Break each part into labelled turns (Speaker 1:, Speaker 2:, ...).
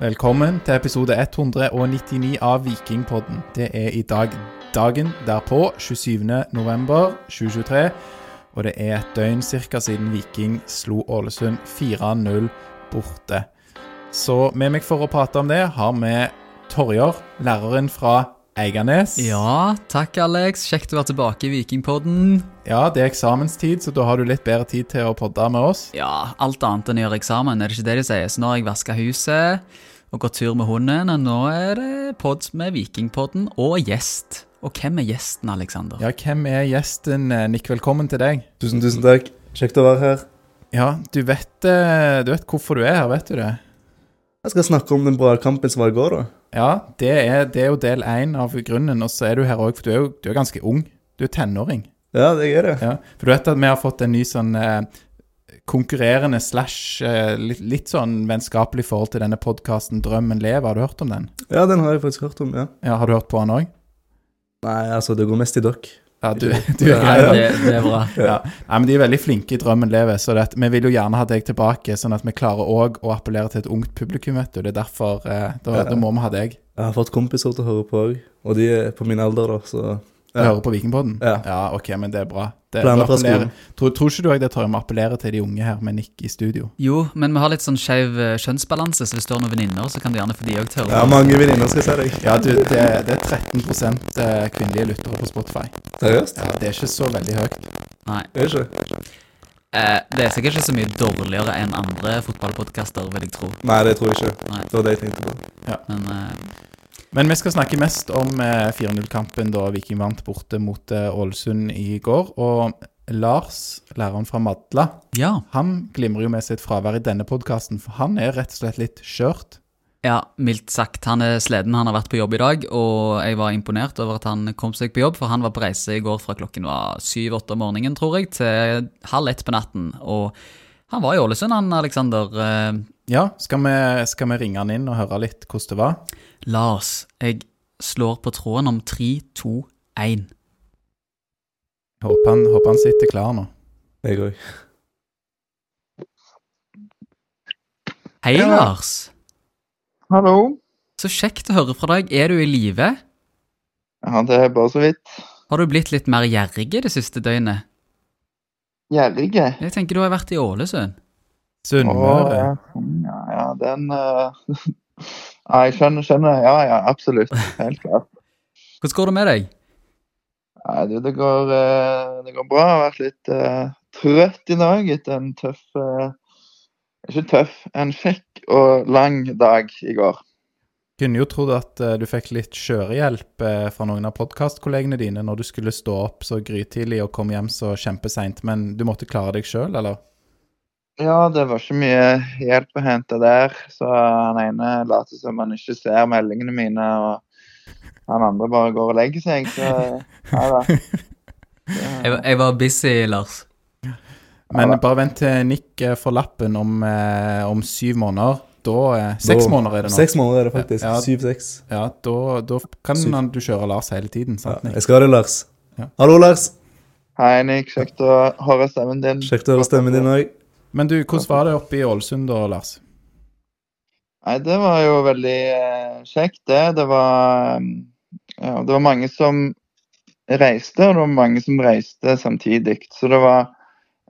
Speaker 1: Velkommen til episode 199 av Vikingpodden. Det er i dag dagen derpå, 27. november 2023. Og det er et døgn cirka siden Viking slo Ålesund 4-0 borte. Så med meg for å prate om det har vi Torjar, læreren fra Eiganes.
Speaker 2: Ja, takk Alex. Kjekt å være tilbake i Vikingpodden.
Speaker 1: Ja, det er eksamenstid, så da har du litt bedre tid til å podde med oss.
Speaker 2: Ja, alt annet enn å gjøre eksamen, er det ikke det de sier? Så nå har jeg vaska huset og gått tur med hunden, og nå er det pod med Vikingpodden og gjest. Og hvem er gjesten, Alexander?
Speaker 1: Ja, hvem er gjesten? eh, Nick, velkommen til deg.
Speaker 3: Tusen, tusen takk. Kjekt å være her.
Speaker 1: Ja, du vet, eh, du vet hvorfor du er her, vet du det?
Speaker 3: Jeg skal snakke om den bra kampen som var i går, da.
Speaker 1: Ja, det er, det er jo del én av grunnen, og så er du her òg, for du er jo du er ganske ung. Du er tenåring.
Speaker 3: Ja, det er det.
Speaker 1: Ja, for du vet at vi har fått en ny sånn eh, konkurrerende slash eh, litt, litt sånn vennskapelig forhold til denne podkasten Drømmen lever. Har du hørt om den?
Speaker 3: Ja, den har jeg faktisk hørt om, ja.
Speaker 1: Ja, Har du hørt på den òg?
Speaker 3: Nei, altså, det går mest i dere.
Speaker 1: Ja, du, du er grei.
Speaker 2: Ja,
Speaker 1: da.
Speaker 2: det, det er bra.
Speaker 1: Ja. Nei, men De er veldig flinke i Drømmen lever, så det at vi vil jo gjerne ha deg tilbake, sånn at vi klarer òg å appellere til et ungt publikum, vet du. Det er derfor eh, da, da må vi ha deg.
Speaker 3: Jeg har fått kompiser til å høre på òg, og de er på min alder, da, så
Speaker 1: Ja. Hører på Vikingpodden?
Speaker 3: Ja.
Speaker 1: OK, men det er bra. Det,
Speaker 3: Planer
Speaker 1: vi
Speaker 3: fra
Speaker 1: appellerer-
Speaker 3: skolen.
Speaker 1: Tror, tror ikke du òg det, Torje, vi appellerer til de unge her med Nick i studio?
Speaker 2: Jo, men vi har litt sånn skeiv eh, kjønnsbalanse, så hvis du har noen venninner, så kan du gjerne få de òg til å
Speaker 3: Jeg har mange venninner, skal jeg si deg.
Speaker 1: Ja, du, det, det er 13 eh, kvinnelige lyttere på Spotify.
Speaker 3: Seriøst?
Speaker 1: Ja, det er ikke så veldig høyt.
Speaker 2: Nei.
Speaker 3: Er det ikke?
Speaker 2: Eh, det er sikkert ikke så mye dårligere enn andre fotballpodkaster, vil jeg tro.
Speaker 3: Nei, det tror jeg ikke.
Speaker 2: Nei.
Speaker 3: Det var det jeg tenkte på.
Speaker 2: Men eh,
Speaker 1: Men vi skal snakke mest om eh, 4-0-kampen da Viking vant borte mot eh, Ålesund i går. Og Lars, læreren fra Madla,
Speaker 2: ja.
Speaker 1: han glimrer jo med sitt fravær i denne podkasten, for han er rett og slett litt skjørt.
Speaker 2: Ja, mildt sagt. Han er sliten. Han har vært på jobb i dag, og jeg var imponert over at han kom seg på jobb, for han var på reise i går fra klokken var syv-åtte om morgenen, tror jeg, til halv ett på natten. Og han var i Ålesund, han Alexander. Eh,
Speaker 1: Ja, skal vi, skal vi ringe han inn og høre litt hvordan det var?
Speaker 2: Lars, jeg slår på tråden om tre, to, én.
Speaker 1: Håper han, håper han sitter klar nå.
Speaker 3: Jeg òg.
Speaker 2: Hei,
Speaker 4: Ja.
Speaker 2: Lars.
Speaker 4: Hallo.
Speaker 2: Så kjekt å høre fra deg. Er du i live?
Speaker 4: Ja, det er bare så vidt.
Speaker 2: Har du blitt litt mer gjerrig det siste døgnet?
Speaker 4: Gjerrig, jeg.
Speaker 2: Jeg tenker du har vært i Ålesund.
Speaker 4: Å,
Speaker 1: Sunnmøre.
Speaker 4: ja, sånn, ja, ja, den eh, Ja, jeg skjønner, skjønner. Ja, ja, absolutt. Helt klart.
Speaker 2: Hvordan går det med deg?
Speaker 4: Nei, du, det går, eh, det går bra. Jeg har vært litt eh, trøtt i dag etter en tøff eh, Ikke tøff, en kjekk og lang dag i går.
Speaker 1: Kunne jo trodd at eh, du fikk litt kjørehjelp eh, fra noen av podkastkollegene dine når du skulle stå opp så grytidlig og komme hjem så kjempeseint, men du måtte klare deg sjøl, eller?
Speaker 4: Ja, det var ikke mye hjelp å hente der, så han ene later som han ikke ser meldingene mine, og han andre bare går og legger seg, så ja da. Det-
Speaker 2: Jeg, var- jeg var busy, Lars.
Speaker 1: Men
Speaker 4: Ja da.
Speaker 1: bare vent til Nick eh, får lappen om, eh, om syv måneder. Da eh, Seks
Speaker 3: Da-
Speaker 1: måneder er det nå.
Speaker 3: Seks måneder er det faktisk.
Speaker 1: Ja.
Speaker 3: Syv-seks.
Speaker 1: Ja, da, da kan
Speaker 3: Syv.
Speaker 1: han, du kjøre Lars hele tiden,
Speaker 3: Ja,
Speaker 1: sant, Nick?
Speaker 3: jeg skal ha det, Lars.
Speaker 1: Ja.
Speaker 3: Hallo, Lars.
Speaker 4: Hei, Nick. Kjekt å høre stemmen din.
Speaker 3: Kjekt å høre stemmen din òg.
Speaker 1: Men du, hvordan var det oppe i Ålesund da, Lars?
Speaker 4: Nei, det var jo veldig eh, kjekt, det. Det var, mm, ja, det var mange som reiste, og det var mange som reiste samtidig. Så det var,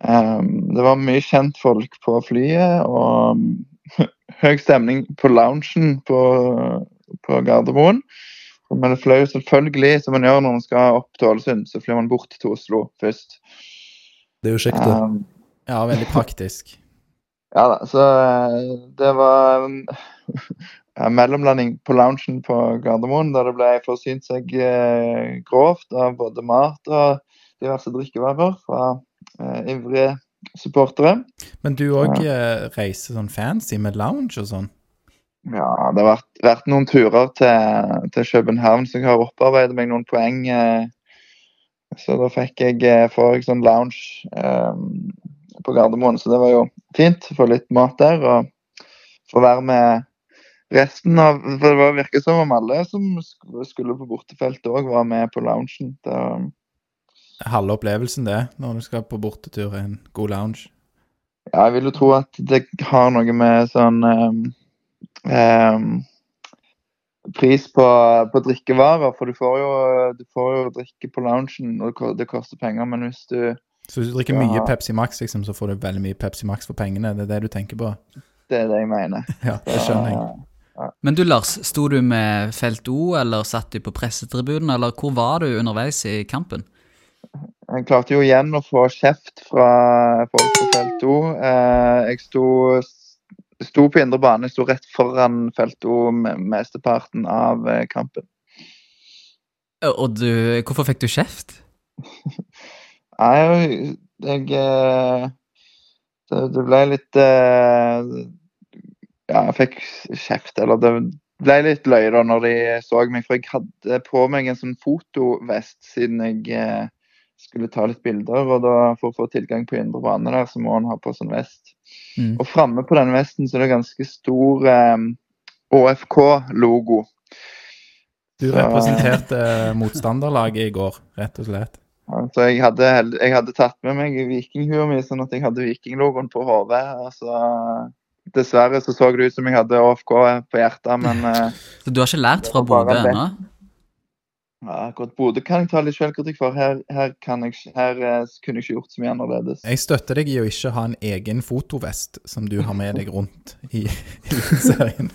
Speaker 4: eh, det var mye kjentfolk på flyet, og mm, høy stemning på loungen på, på Gardermoen. Men det fløy jo selvfølgelig, som man gjør når man skal opp til Ålesund, så flyr man bort til Oslo først.
Speaker 3: Det er jo kjekt, da.
Speaker 4: Um,
Speaker 1: Ja, veldig praktisk.
Speaker 4: Ja da, så eh, det var eh, mellomlanding på loungen på Gardermoen, der det ble forsynt seg eh, grovt av både mat og diverse drikkevarer fra eh, ivrige supportere.
Speaker 1: eh, Men du òg reiser sånn fancy med lounge og sånn?
Speaker 4: Ja, det har vært, vært noen turer til, til København, så jeg har opparbeidet meg noen poeng. eh, Så da fikk jeg, eh, får jeg sånn lounge eh, på Gardermoen, så det var jo fint. Få litt mat der og få være med resten av For det var- virket som om alle som sk- skulle på bortefeltet òg, var med på loungen. Da,
Speaker 1: Halve opplevelsen, det, når du skal på bortetur i en god lounge.
Speaker 4: Ja, jeg vil jo tro at det har noe med sånn ehm, ehm, Pris på, på drikkevarer, for du får jo, du får jo drikke på loungen, og det ko- det koster penger, men hvis du
Speaker 1: Så hvis du drikker
Speaker 4: Ja.
Speaker 1: mye Pepsi Max, liksom, så får du veldig mye Pepsi Max for pengene. Det er det du tenker på?
Speaker 4: Det er det jeg mener.
Speaker 1: Ja, det skjønner jeg.
Speaker 2: Men du, Lars, sto du med felt O, eller satt du på pressetribunen, eller hvor var du underveis i kampen?
Speaker 4: Jeg klarte jo igjen å få kjeft fra folk på felt O. Eh, jeg sto, sto på indre bane, jeg sto rett foran felt O me- mesteparten av eh, kampen.
Speaker 2: Og du, hvorfor fikk du kjeft?
Speaker 4: Nei, jeg, jeg eh, det, det ble litt eh, Ja, jeg fikk kjeft, eller det ble litt løye da når de så meg, for jeg hadde på meg en sånn fotovest siden jeg eh, skulle ta litt bilder, og da for å få tilgang på indre bane der, så må en ha på sånn vest.
Speaker 2: Mm.
Speaker 4: Og framme på den vesten så er det ganske stor eh, ÅFK-logo.
Speaker 1: Du
Speaker 4: Så-
Speaker 1: representerte eh, motstanderlaget i går, rett og slett.
Speaker 4: Altså, jeg, hadde, held- jeg hadde tatt med meg vikinghua mi, sånn at jeg hadde vikinglogoen på hodet. Altså, dessverre så så det ut som jeg hadde AFK på hjertet, men eh,
Speaker 2: Så du har ikke lært fra
Speaker 4: Det var
Speaker 2: Bodø
Speaker 4: bare
Speaker 2: ennå?
Speaker 4: ja, akkurat Bodø kan jeg ta litt selvkritikk for. Her, her, kan jeg, ikke- her eh, kunne jeg ikke gjort så mye annerledes.
Speaker 1: Jeg støtter deg i å ikke ha en egen fotovest som du har med deg rundt i, i serien.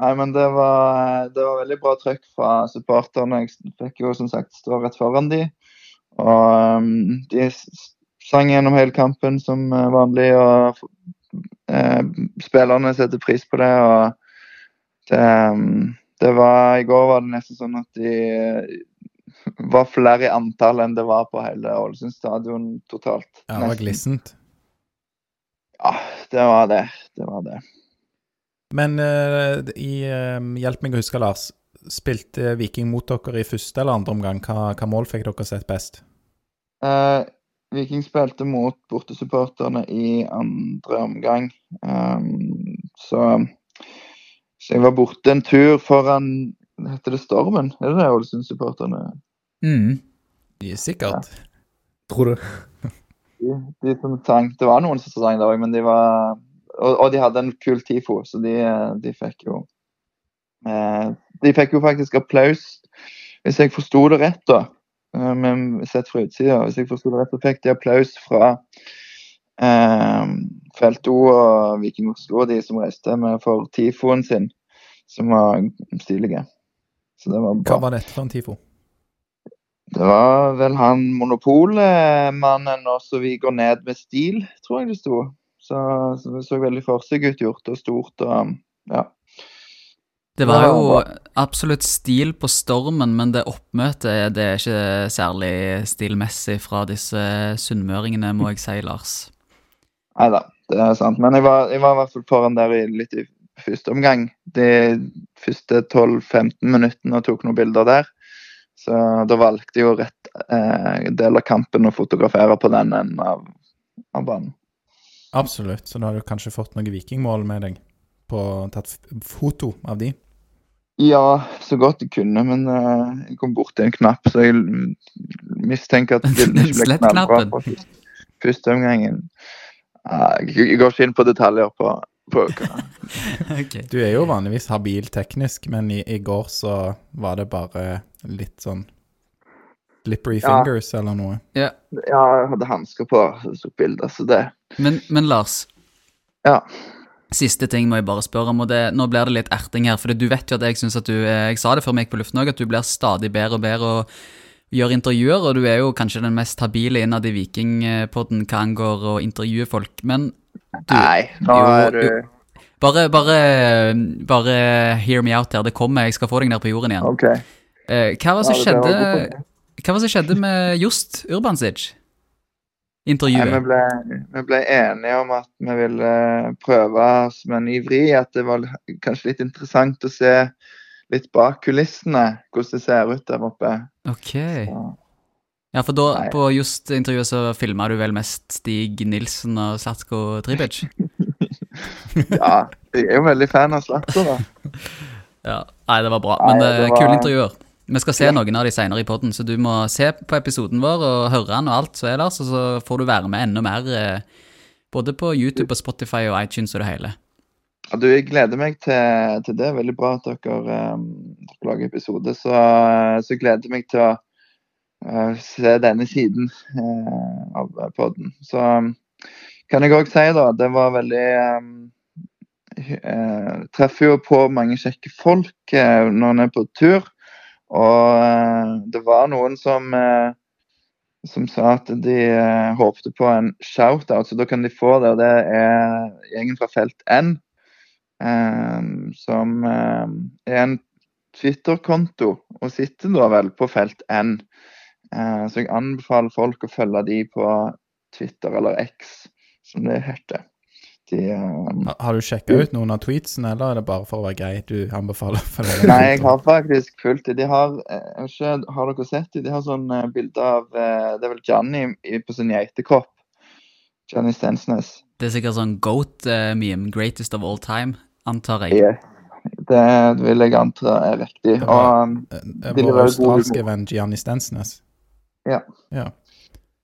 Speaker 4: Nei, men det var, det var veldig bra trøkk fra supporterne. Jeg fikk jo som sagt stå rett foran de. Og ehm, de s- sang gjennom hele kampen som eh, vanlig, og eh, spillerne setter pris på det. og det, ehm, det var, I går var det nesten sånn at de eh, var flere i antall enn det var på hele Ålesund stadion totalt.
Speaker 1: Ja, det var
Speaker 4: Nesten.
Speaker 1: glissent.
Speaker 4: Ja, det var det. Det var det.
Speaker 1: Men eh, i, eh, hjelp meg å huske, Lars. Spilte Viking mot dere i første eller andre omgang? Hva, hva mål fikk dere sett best?
Speaker 4: Eh, Viking spilte mot bortesupporterne i andre omgang. Ehm, så, så jeg var borte en tur foran Heter det Stormen? Er det det Ålesund-supporterne?
Speaker 2: Mm.
Speaker 1: Sikkert.
Speaker 3: Tror du?
Speaker 4: De, de som sang Det var noen som sang der òg, men de var og, og de hadde en kul TIFO, så de, eh, de fikk jo eh, De fikk jo faktisk applaus, hvis jeg forsto det rett, da. eh, Men sett fra utsida, hvis jeg forsto det rett, så fikk de applaus fra eh, Felt O og Viking Oslo og de som reiste med for TIFO-en sin, som var stilige. Så det var bra.
Speaker 1: Hva var dette for en TIFO?
Speaker 4: Det var vel han monopolmannen, og så vi går ned med stil, tror jeg det sto. Så, så det så veldig for seg ut, gjort og stort og ja.
Speaker 2: Det var
Speaker 4: Ja,
Speaker 2: jo
Speaker 4: bra.
Speaker 2: absolutt stil på stormen, men det oppmøtet det er ikke særlig stilmessig fra disse sunnmøringene, må jeg si, Lars.
Speaker 4: Nei da, det er sant. Men jeg var, jeg var i hvert fall foran der i litt i første omgang. De første 12-15 minuttene og tok noen bilder der. Så da valgte jeg jo rett eh, del av kampen å fotografere på den enden av, av banen.
Speaker 1: Absolutt, så da har du kanskje fått noen vikingmål med deg? På tatt f- foto av de?
Speaker 4: Ja, så godt jeg kunne, men eh, jeg kom borti en knapp, så jeg l- mistenker at bildene ikke ble
Speaker 2: Slett
Speaker 4: knallbra
Speaker 2: knappen.
Speaker 4: på fys- første omgangen. Nei, jeg jeg går ikke inn på detaljer på, på hva-
Speaker 2: Ok.
Speaker 1: Du er jo vanligvis habil teknisk, men i, i går så var det bare litt sånn Slippery
Speaker 4: Ja.
Speaker 1: fingers eller noe.
Speaker 2: Ja.
Speaker 4: Ja, jeg hadde hansker på, så tok bilder, så det
Speaker 2: Men, men Lars,
Speaker 4: Ja.
Speaker 2: siste ting må jeg bare spørre om, og det, nå blir det litt erting her, for du vet jo at jeg synes at du, eh, jeg sa det før vi gikk på luften også, at du blir stadig bedre og bedre og gjør intervjuer, og du er jo kanskje den mest habile innad i Vikingpodden hva angår å intervjue folk, men du,
Speaker 4: Nei, nå
Speaker 2: jo,
Speaker 4: er du
Speaker 2: jo. bare, bare, bare hear me out her, det kommer, jeg skal få deg ned på jorden igjen.
Speaker 4: OK.
Speaker 2: Eh, Hva var det som
Speaker 4: Ja, det var
Speaker 2: skjedde,
Speaker 4: godt å
Speaker 2: hva var det som skjedde med Just Urbansic? intervjuet?
Speaker 4: Nei, vi, ble, vi ble enige om at vi ville prøve oss med en ny vri. At det var l- kanskje litt interessant å se litt bak kulissene, hvordan det ser ut der oppe.
Speaker 2: Ok.
Speaker 4: Så-
Speaker 2: Ja, for da,
Speaker 4: Nei.
Speaker 2: på just intervjuet så filma du vel mest Stig Nilsen og Slatko Tripic?
Speaker 4: Ja, jeg er jo veldig fan av Zlatan, da.
Speaker 2: Ja. Nei, det var bra.
Speaker 4: Nei,
Speaker 2: Men
Speaker 4: det
Speaker 2: eh,
Speaker 4: var-
Speaker 2: kule intervjuer. Vi skal se
Speaker 4: Ja.
Speaker 2: noen av de seinere i poden, så du må se på episoden vår og høre den og alt som er der, så, så får du være med enda mer. eh, Både på YouTube og Spotify og iTunes og det hele.
Speaker 4: Ja, du, jeg gleder meg til, til det. Veldig bra at dere, ehm, dere lager episode. Så, så jeg gleder meg til å eh, se denne siden eh, av podden. Så ehm, kan jeg òg si, da, det var veldig ehm, hy- eh, Treffer jo på mange kjekke folk eh, når en er på tur. Og eh, det var noen som eh, som sa at de eh, håpte på en shout-out, så da kan de få det. Og det er gjengen fra Felt N. Ehm, som ehm, er en Twitter-konto, og sitter da vel på felt N. Eh, så jeg anbefaler folk å følge de på Twitter eller X, som det heter. De, ehm,
Speaker 1: Har, har du sjekka ut noen av tweetsene, eller er det bare for å være grei du anbefaler? For det?
Speaker 4: Nei, jeg har faktisk fulgt det. De har, eh, jeg vet ikke, har dere sett det? De har sånn eh, bilde av eh, Det er vel Johnny i- på sin geitekopp. Johnny Stensnes.
Speaker 2: Det er sikkert sånn goat-meme, greatest of all time, antar jeg.
Speaker 4: Yes. Det vil jeg anta er riktig.
Speaker 1: Det
Speaker 4: Og
Speaker 1: var-
Speaker 4: ehm,
Speaker 1: Eh,
Speaker 4: Ville
Speaker 1: Vår
Speaker 4: være
Speaker 1: australske
Speaker 4: god-
Speaker 1: venn Gianni Stensnes.
Speaker 4: Ja.
Speaker 1: ja.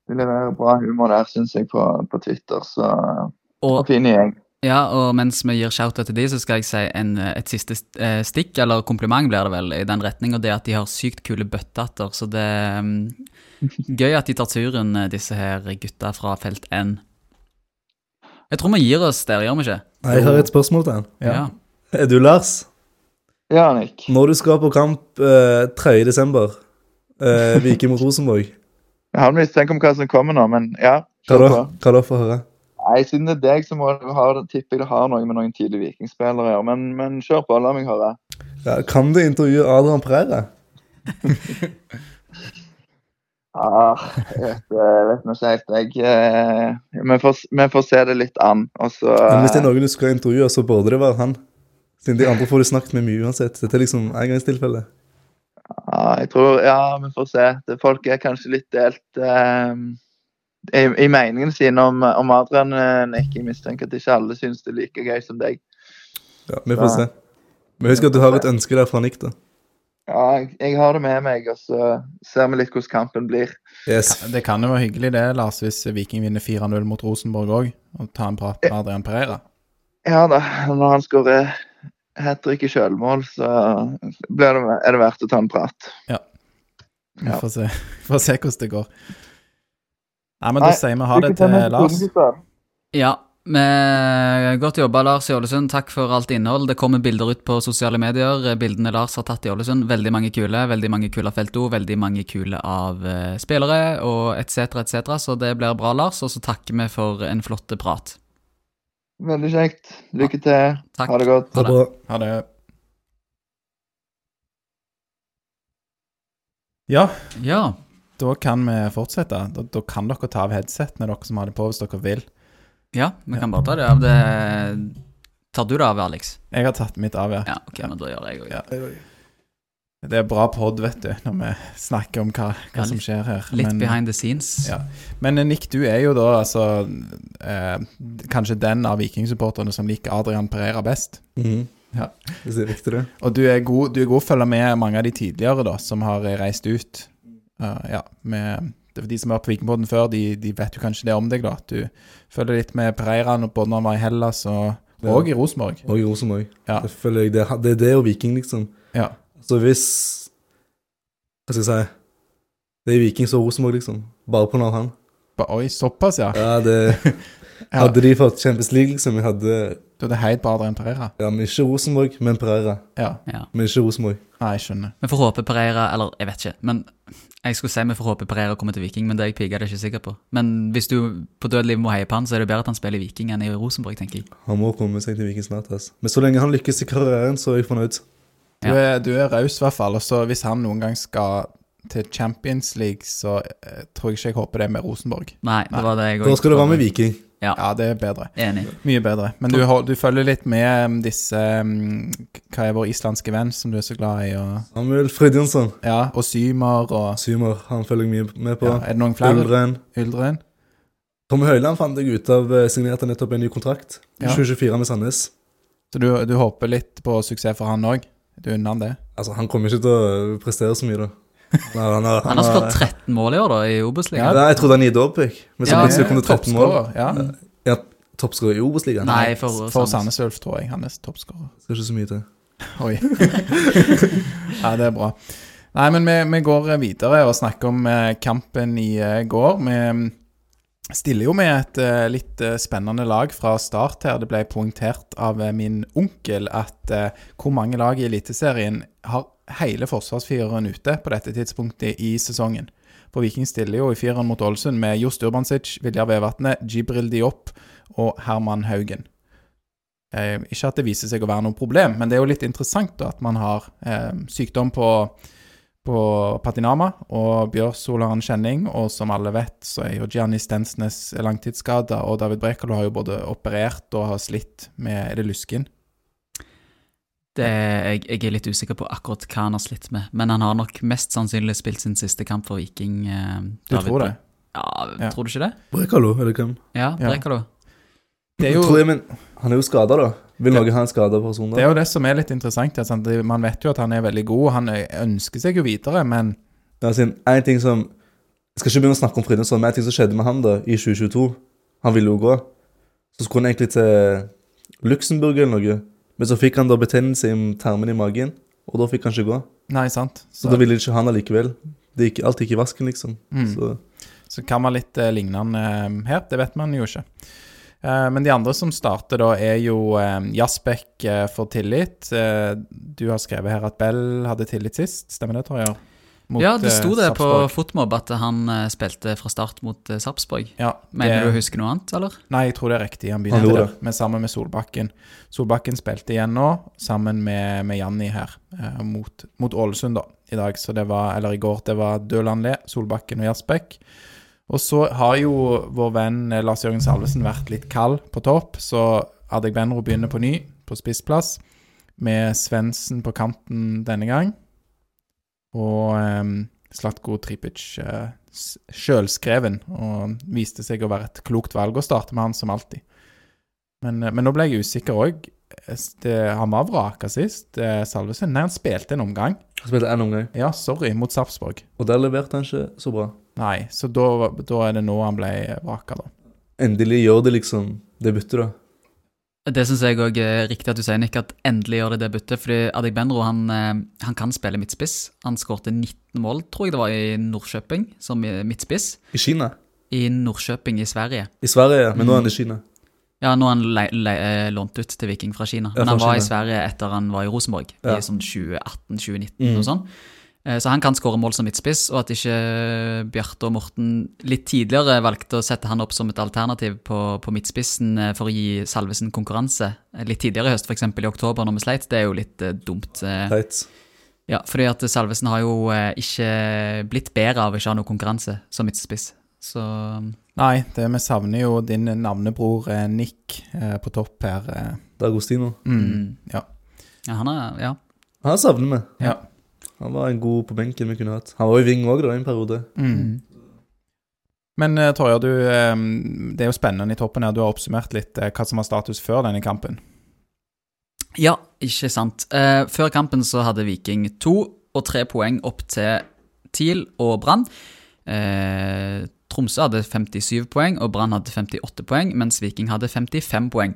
Speaker 4: de leverer bra humor der, syns jeg, på, på Twitter. Så
Speaker 2: Og
Speaker 4: og fin gjeng.
Speaker 2: Ja, og mens vi gir shout-out til de, så skal jeg si en, et siste eh, stikk, eller kompliment blir det vel, i den retning, og det er at de har sykt kule bøttehatter, så det er gøy at de tar turen, eh, disse her gutta fra felt N. Jeg tror vi gir oss der, gjør vi ikke?
Speaker 3: Jeg har et spørsmål til han.
Speaker 1: Ja.
Speaker 3: Er du Lars?
Speaker 4: Ja, Nick.
Speaker 3: Når du skal på kamp eh, 3. desember, eh, Viking mot Rosenborg,
Speaker 4: Jeg har en mistanke om hva som kommer nå, men ja.
Speaker 3: hva
Speaker 4: kjør
Speaker 3: da?
Speaker 4: på.
Speaker 3: Hva da for å høre?
Speaker 4: Nei, Siden det er deg, så må du ha, tipper jeg det har noe med noen tidlige vikingspillere å gjøre. Men, men kjør på, la meg høre.
Speaker 3: Ja, kan du intervjue Adrian Pereira?
Speaker 4: Ah, jeg vet, jeg vet nå ikke helt, jeg. eh, Vi får, s- vi får se det litt an. Og så
Speaker 3: Men hvis det er noen du skal intervjue, så burde det være han. Siden de andre får du snakket med mye uansett. Dette er liksom engangstilfelle.
Speaker 4: Ja, ah, jeg tror Ja, vi får se. Det, folk er kanskje litt delt eh, i, i meningen sin om, om Adrian eh, Nick. Jeg mistenker at ikke alle syns det er like gøy som deg.
Speaker 3: Ja, vi får se. Men husk at du har et ønske der fra Nick, da.
Speaker 4: Ja, jeg, jeg har det med meg, og så ser vi litt hvordan kampen blir.
Speaker 3: Yes.
Speaker 1: Det kan jo være hyggelig det, Lars, hvis Viking vinner 4-0 mot Rosenborg òg, og ta en prat med Adrian Pereira.
Speaker 4: Ja da, når han skårer eh, hat trick i sjølmål, så blir det, er det verdt å ta en prat.
Speaker 1: Vi
Speaker 4: Ja.
Speaker 1: får se, får se hvordan det går. Nei, men
Speaker 4: Nei,
Speaker 1: da sier vi ha det
Speaker 4: Lykke
Speaker 1: til
Speaker 4: med
Speaker 1: Lars.
Speaker 4: episoden, gutter.
Speaker 2: Ja, men godt jobba, Lars i Ålesund. Takk for alt innhold. Det kommer bilder ut på sosiale medier. Bildene Lars har tatt i Ålesund. Veldig mange kule. Veldig mange kule av Felto. Veldig mange kule av eh, spillere og etc., etc. Så det blir bra, Lars. Og så takker vi for en flott prat.
Speaker 4: Veldig kjekt. Lykke til.
Speaker 2: Takk.
Speaker 4: Ha det godt.
Speaker 3: Ha det bra.
Speaker 1: Ha det. Ja,
Speaker 2: Ja.
Speaker 1: da kan vi fortsette. Da, da kan dere ta av headsetene, dere som har det på, hvis dere vil.
Speaker 2: Ja, vi kan bare ta det av det Tar du det av, Alex?
Speaker 1: Jeg har tatt mitt av, ja.
Speaker 2: Ja, ok, men da gjør jeg òg
Speaker 1: Ja. Det er bra pod, vet du, når vi snakker om hva, hva
Speaker 2: Ja,
Speaker 1: som
Speaker 2: litt-
Speaker 1: skjer her.
Speaker 2: Litt
Speaker 1: men,
Speaker 2: behind the scenes.
Speaker 1: Ja. men eh, Nick, du er jo da altså eh, kanskje den av vikingsupporterne som liker Adrian Pereira best.
Speaker 3: Mhm.
Speaker 1: Ja.
Speaker 3: Hvis det er viktig, det.
Speaker 1: Og du er god, du er god å følge med mange av de tidligere da, som har reist ut.
Speaker 3: Mm.
Speaker 1: Eh, ja, med, det er for De som har vært på Vikingpodden før, de, de vet jo kanskje det om deg. da. at Du følger litt med Pereira når- både når han var i Hellas og,
Speaker 3: Ja.
Speaker 1: og i Rosenborg.
Speaker 3: Og i Rosenborg.
Speaker 1: Ja.
Speaker 3: Det føler jeg det, det er det og Viking, liksom.
Speaker 1: Ja.
Speaker 3: Så hvis Hva skal jeg si Det er Viking så Rosenborg, liksom. Bare på når han.
Speaker 1: Ba, oi, såpass, ja.
Speaker 3: Ja, det
Speaker 1: ja.
Speaker 3: Hadde de fått Champions League, liksom, vi hadde
Speaker 1: Du hadde heid på Adrian Pereira?
Speaker 3: Ja, men ikke Rosenborg, men Pereira.
Speaker 1: Ja.
Speaker 3: Men ikke Rosenborg.
Speaker 1: Nei, jeg skjønner.
Speaker 2: Vi får håpe Pereira Eller, jeg vet ikke. men Jeg skulle si vi får håpe Pereira kommer til Viking, men det er jeg pigga, det er jeg ikke sikker på. Men hvis du på død liv må heie på han, så er det bedre at han spiller i Viking enn i Rosenborg, tenker jeg.
Speaker 3: Han må komme seg til Viking snart. ass. Men så lenge han lykkes i karrieren, så er jeg fornøyd.
Speaker 1: Du er, du er raus, i hvert fall. Og så hvis han noen gang skal til Champions League, så eh, tror jeg ikke jeg håper det er med Rosenborg.
Speaker 2: Nei, det var det jeg
Speaker 3: Da skal det være med Viking.
Speaker 1: Ja, det er bedre.
Speaker 2: Enig.
Speaker 1: Mye bedre. Men du, hol- du følger litt med um, disse um, Hva er vår islandske venn som du er så glad i, og,
Speaker 3: Samuel Fridjonsson.
Speaker 1: ja, og Symer og
Speaker 3: Symer, han følger jeg mye med på.
Speaker 1: ja, Er det noen flere?
Speaker 3: Ulren.
Speaker 1: Uldren?
Speaker 3: Tommy Høiland fant jeg ut av eh, signerte nettopp en ny kontrakt.
Speaker 1: Ja.
Speaker 3: 2024 med Sandnes.
Speaker 1: Så du, du håper litt på suksess for han òg? Du unner han det?
Speaker 3: Altså, han kommer ikke til å prestere så mye, da. Nei, han, har-
Speaker 2: Han har skåret 13 mål i år, da, i
Speaker 1: Ja.
Speaker 2: Obos-ligaen.
Speaker 3: Nei, jeg trodde han gikk opp, jeg. Men så
Speaker 2: Ja, Mm.
Speaker 3: plutselig kom det 13 mål.
Speaker 1: Toppskårer, Ja.
Speaker 3: Toppskårer i Obos-ligaen.
Speaker 2: Nei, for,
Speaker 1: For Sandnes Ulf, tror jeg. Han er toppskårer.
Speaker 3: Det Skal ikke så mye til.
Speaker 1: Oi. ja, det er bra. Nei, men vi, vi går videre og snakker om eh, kampen i eh, går. Vi mm, stiller jo med et eh, litt eh, spennende lag fra start her. Det ble poengtert av eh, min onkel at eh, hvor mange lag i Eliteserien har hele forsvarsfireren ute på dette tidspunktet i sesongen. For Viking stiller jo i fireren mot Ålesund med Johs Durbansic, Viljar Vevatnet, Jibril Diop og Herman Haugen. Eh, ikke at det viser seg å være noe problem, men det er jo litt interessant da, at man har eh, sykdom på, på Patinama og Bjørsol har en kjenning, og som alle vet, så er jo Gianni Stensnes langtidsskada, og David Brekalo har jo både operert og har slitt med Er det lysken?
Speaker 2: Det, jeg, jeg er litt usikker på akkurat hva han har slitt med, men han har nok mest sannsynlig spilt sin siste kamp for Viking. eh,
Speaker 1: Du
Speaker 2: David
Speaker 1: tror
Speaker 2: Bre-
Speaker 1: det?
Speaker 2: Ja,
Speaker 1: Ja.
Speaker 2: tror du ikke det?
Speaker 3: Brekalo, er det hvem?
Speaker 2: Ja,
Speaker 1: Ja.
Speaker 2: Brekalo.
Speaker 1: Det er
Speaker 3: Jeg tror
Speaker 1: jo
Speaker 3: jeg, men han er jo skada, da. Vil noen ha en skada person
Speaker 1: det,
Speaker 3: da?
Speaker 1: er jo det som er litt interessant. at sant, det- Man vet jo at han er veldig god, han ø- ønsker seg jo videre, men
Speaker 3: Ja, siden altså en ting som Jeg skal ikke begynne å snakke om Fridtjonsson, men en ting som skjedde med han da, i 2022 Han ville jo gå. Så skulle han egentlig til Luxembourg eller noe, men så fikk han da betennelse i tarmen i magen, og da fikk han ikke gå.
Speaker 1: Nei, sant?
Speaker 3: Så da ville ikke han allikevel. Det gikk, alt gikk i vasken, liksom.
Speaker 1: Mm.
Speaker 3: Så
Speaker 1: Så kan man litt eh, lignende eh, her, det vet man jo ikke. Eh, men de andre som starter da, er jo eh, Jasbekk eh, for tillit. Eh, du har skrevet her at Bell hadde tillit sist, stemmer det, Torjer? Mot,
Speaker 2: ja, det
Speaker 1: eh,
Speaker 2: sto det på
Speaker 1: Sarpsborg.
Speaker 2: Fotmob at han eh, spilte fra start mot eh, Sarpsborg.
Speaker 1: ja,
Speaker 2: Mener
Speaker 1: det-
Speaker 2: du å huske noe annet, eller?
Speaker 1: Nei, jeg tror det er riktig. Han
Speaker 3: Han
Speaker 1: begynte
Speaker 3: gjorde
Speaker 1: der, men sammen med Solbakken. Solbakken spilte igjen nå, sammen med, med Janni her, eh, mot, mot Ålesund da, i dag. Så det var, eller i går, det var Dølandle, Solbakken og Jasbekk. Og så har jo vår venn eh, Lars-Jørgen Salvesen vært litt kald på topp, så Adek Benro begynner på ny, på spissplass, med Svendsen på kanten denne gang, og eh, Slatko Tripic eh, s- sjølskreven, og viste seg å være et klokt valg å starte med han, som alltid. Men, eh, men nå ble jeg usikker òg. Han var vraka sist, eh, Salvesen. Nei, han spilte en omgang.
Speaker 3: han spilte én omgang,
Speaker 1: Ja, sorry, mot Sarpsborg.
Speaker 3: og der leverte han ikke så bra.
Speaker 1: Nei, så da, da er det nå han ble vraka, da.
Speaker 3: Endelig gjør det liksom det byttet, da.
Speaker 2: Det syns jeg òg er riktig at du sier, Nick, at endelig gjør det det byttet. fordi Adek Benro han, eh, han kan spille midtspiss. Han skårte 19 mål, tror jeg det var, i Norrköping, som i- midtspiss.
Speaker 3: I Kina.
Speaker 2: I Norrköping i Sverige.
Speaker 3: I Sverige, ja. men nå er han
Speaker 2: Mm.
Speaker 3: i Kina.
Speaker 2: Ja, nå er han le le eh, lånt ut til Viking fra Kina.
Speaker 3: Ja,
Speaker 2: Men han
Speaker 3: fra
Speaker 2: var i
Speaker 3: Kina.
Speaker 2: Sverige etter han var i Rosenborg,
Speaker 3: Ja.
Speaker 2: i sånn 2018-2019
Speaker 3: Mm.
Speaker 2: og sånn. Eh, Så han kan skåre mål som midtspiss, og at ikke Bjarte og Morten litt tidligere valgte å sette han opp som et alternativ på, på midtspissen eh, for å gi Salvesen konkurranse eh, litt tidligere i høst, f.eks. i oktober når vi sleit, det er jo litt eh, dumt. eh.
Speaker 3: Teit.
Speaker 2: Ja, fordi at Salvesen har jo eh, ikke blitt bedre av å ikke ha noe konkurranse som midtspiss. Så
Speaker 1: Nei, det, vi savner jo din navnebror eh, Nick eh, på topp her. Eh.
Speaker 3: D'Agostino.
Speaker 1: Mm, ja.
Speaker 2: ja, han er Ja.
Speaker 3: Han savner vi.
Speaker 1: Ja.
Speaker 3: Han var en god på benken vi kunne hatt. Han var jo i Ving òg, da, i en periode.
Speaker 1: Mm. Men eh, Torjer, du, eh, det er jo spennende i toppen her. Du har oppsummert litt eh, hva som var status før denne kampen.
Speaker 2: Ja, ikke sant. Eh, før kampen så hadde Viking to og tre poeng opp til TIL og Brann. Eh, Tromsø hadde 57 poeng, og Brann hadde 58 poeng, mens Viking hadde 55 poeng.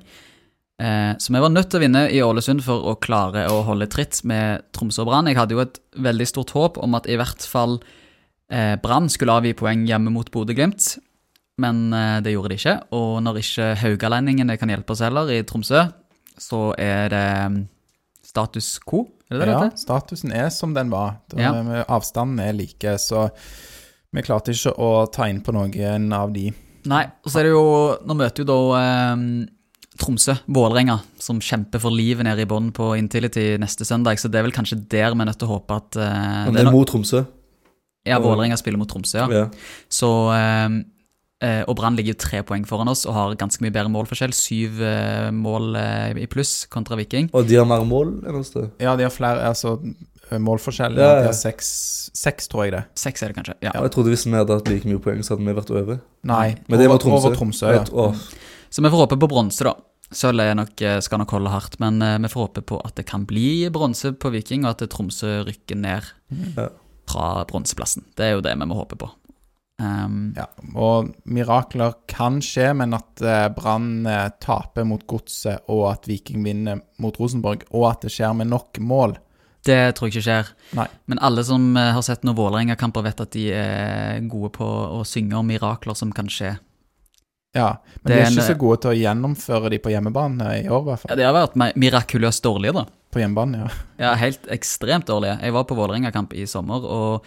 Speaker 2: Eh, så vi var nødt til å vinne i Ålesund for å klare å holde tritt med Tromsø og Brann. Jeg hadde jo et veldig stort håp om at i hvert fall eh, Brann skulle avgi poeng hjemme mot Bodø-Glimt. Men eh, det gjorde de ikke, og når ikke haugalendingene kan hjelpe oss heller i Tromsø, så er det mm, status quo, er det
Speaker 1: ja,
Speaker 2: det det heter?
Speaker 1: statusen er som den var. Da,
Speaker 2: Ja.
Speaker 1: Avstanden er like, så vi klarte ikke å ta inn på noen av de.
Speaker 2: Nei, og så er det jo Nå møter jo da eh, Tromsø, Vålerenga, som kjemper for livet nede i bånn på Intility neste søndag, så det er vel kanskje der vi er nødt til å håpe at eh, det
Speaker 3: Men det
Speaker 2: er
Speaker 3: er
Speaker 2: no
Speaker 3: mot Tromsø.
Speaker 2: Ja, Vålerenga spiller mot Tromsø, ja.
Speaker 3: Ja.
Speaker 2: Så, ehm, eh, og Brann ligger jo tre poeng foran oss og har ganske mye bedre målforskjell. Syv eh, mål eh, i pluss kontra Viking.
Speaker 3: Og de har mer mål enn oss, det.
Speaker 1: Ja, de har flere altså, målforskjell.
Speaker 3: Ja, ja.
Speaker 1: De har seks, seks, tror jeg det.
Speaker 2: Seks er det kanskje. Ja.
Speaker 3: Og jeg trodde hvis vi hadde hatt like mye poeng, så hadde vi vært over.
Speaker 1: Nei,
Speaker 3: Men det var
Speaker 1: over-
Speaker 3: Tromsø.
Speaker 1: Over Tromsø ja.
Speaker 3: Jeg- åh,
Speaker 2: Så vi får håpe på bronse, da. Sølv er nok, eh, skal nok holde hardt, men eh, vi får håpe på at det kan bli bronse på Viking, og at Tromsø rykker ned
Speaker 3: Ja.
Speaker 2: fra bronseplassen. Det er jo det vi må håpe på. Ehm,
Speaker 1: Ja, og mirakler kan skje, men at eh, Brann eh, taper mot Godset, og at Viking vinner mot Rosenborg, og at det skjer med nok mål
Speaker 2: Det tror jeg ikke skjer.
Speaker 1: Nei.
Speaker 2: Men alle som eh, har sett noen Vålerenga-kamper, vet at de er gode på å synge om mirakler som kan skje.
Speaker 1: Ja, men
Speaker 2: Det
Speaker 1: de
Speaker 2: er
Speaker 1: er ikke
Speaker 2: en- eh,
Speaker 1: så gode til å gjennomføre de på hjemmebane i år, i hvert
Speaker 2: Ja,
Speaker 1: fall.
Speaker 2: Det har vært mi- mirakuløst dårlige, da.
Speaker 1: På hjemmebane, ja.
Speaker 2: Ja, helt ekstremt dårlige. Jeg var på Vålerenga-kamp i sommer, og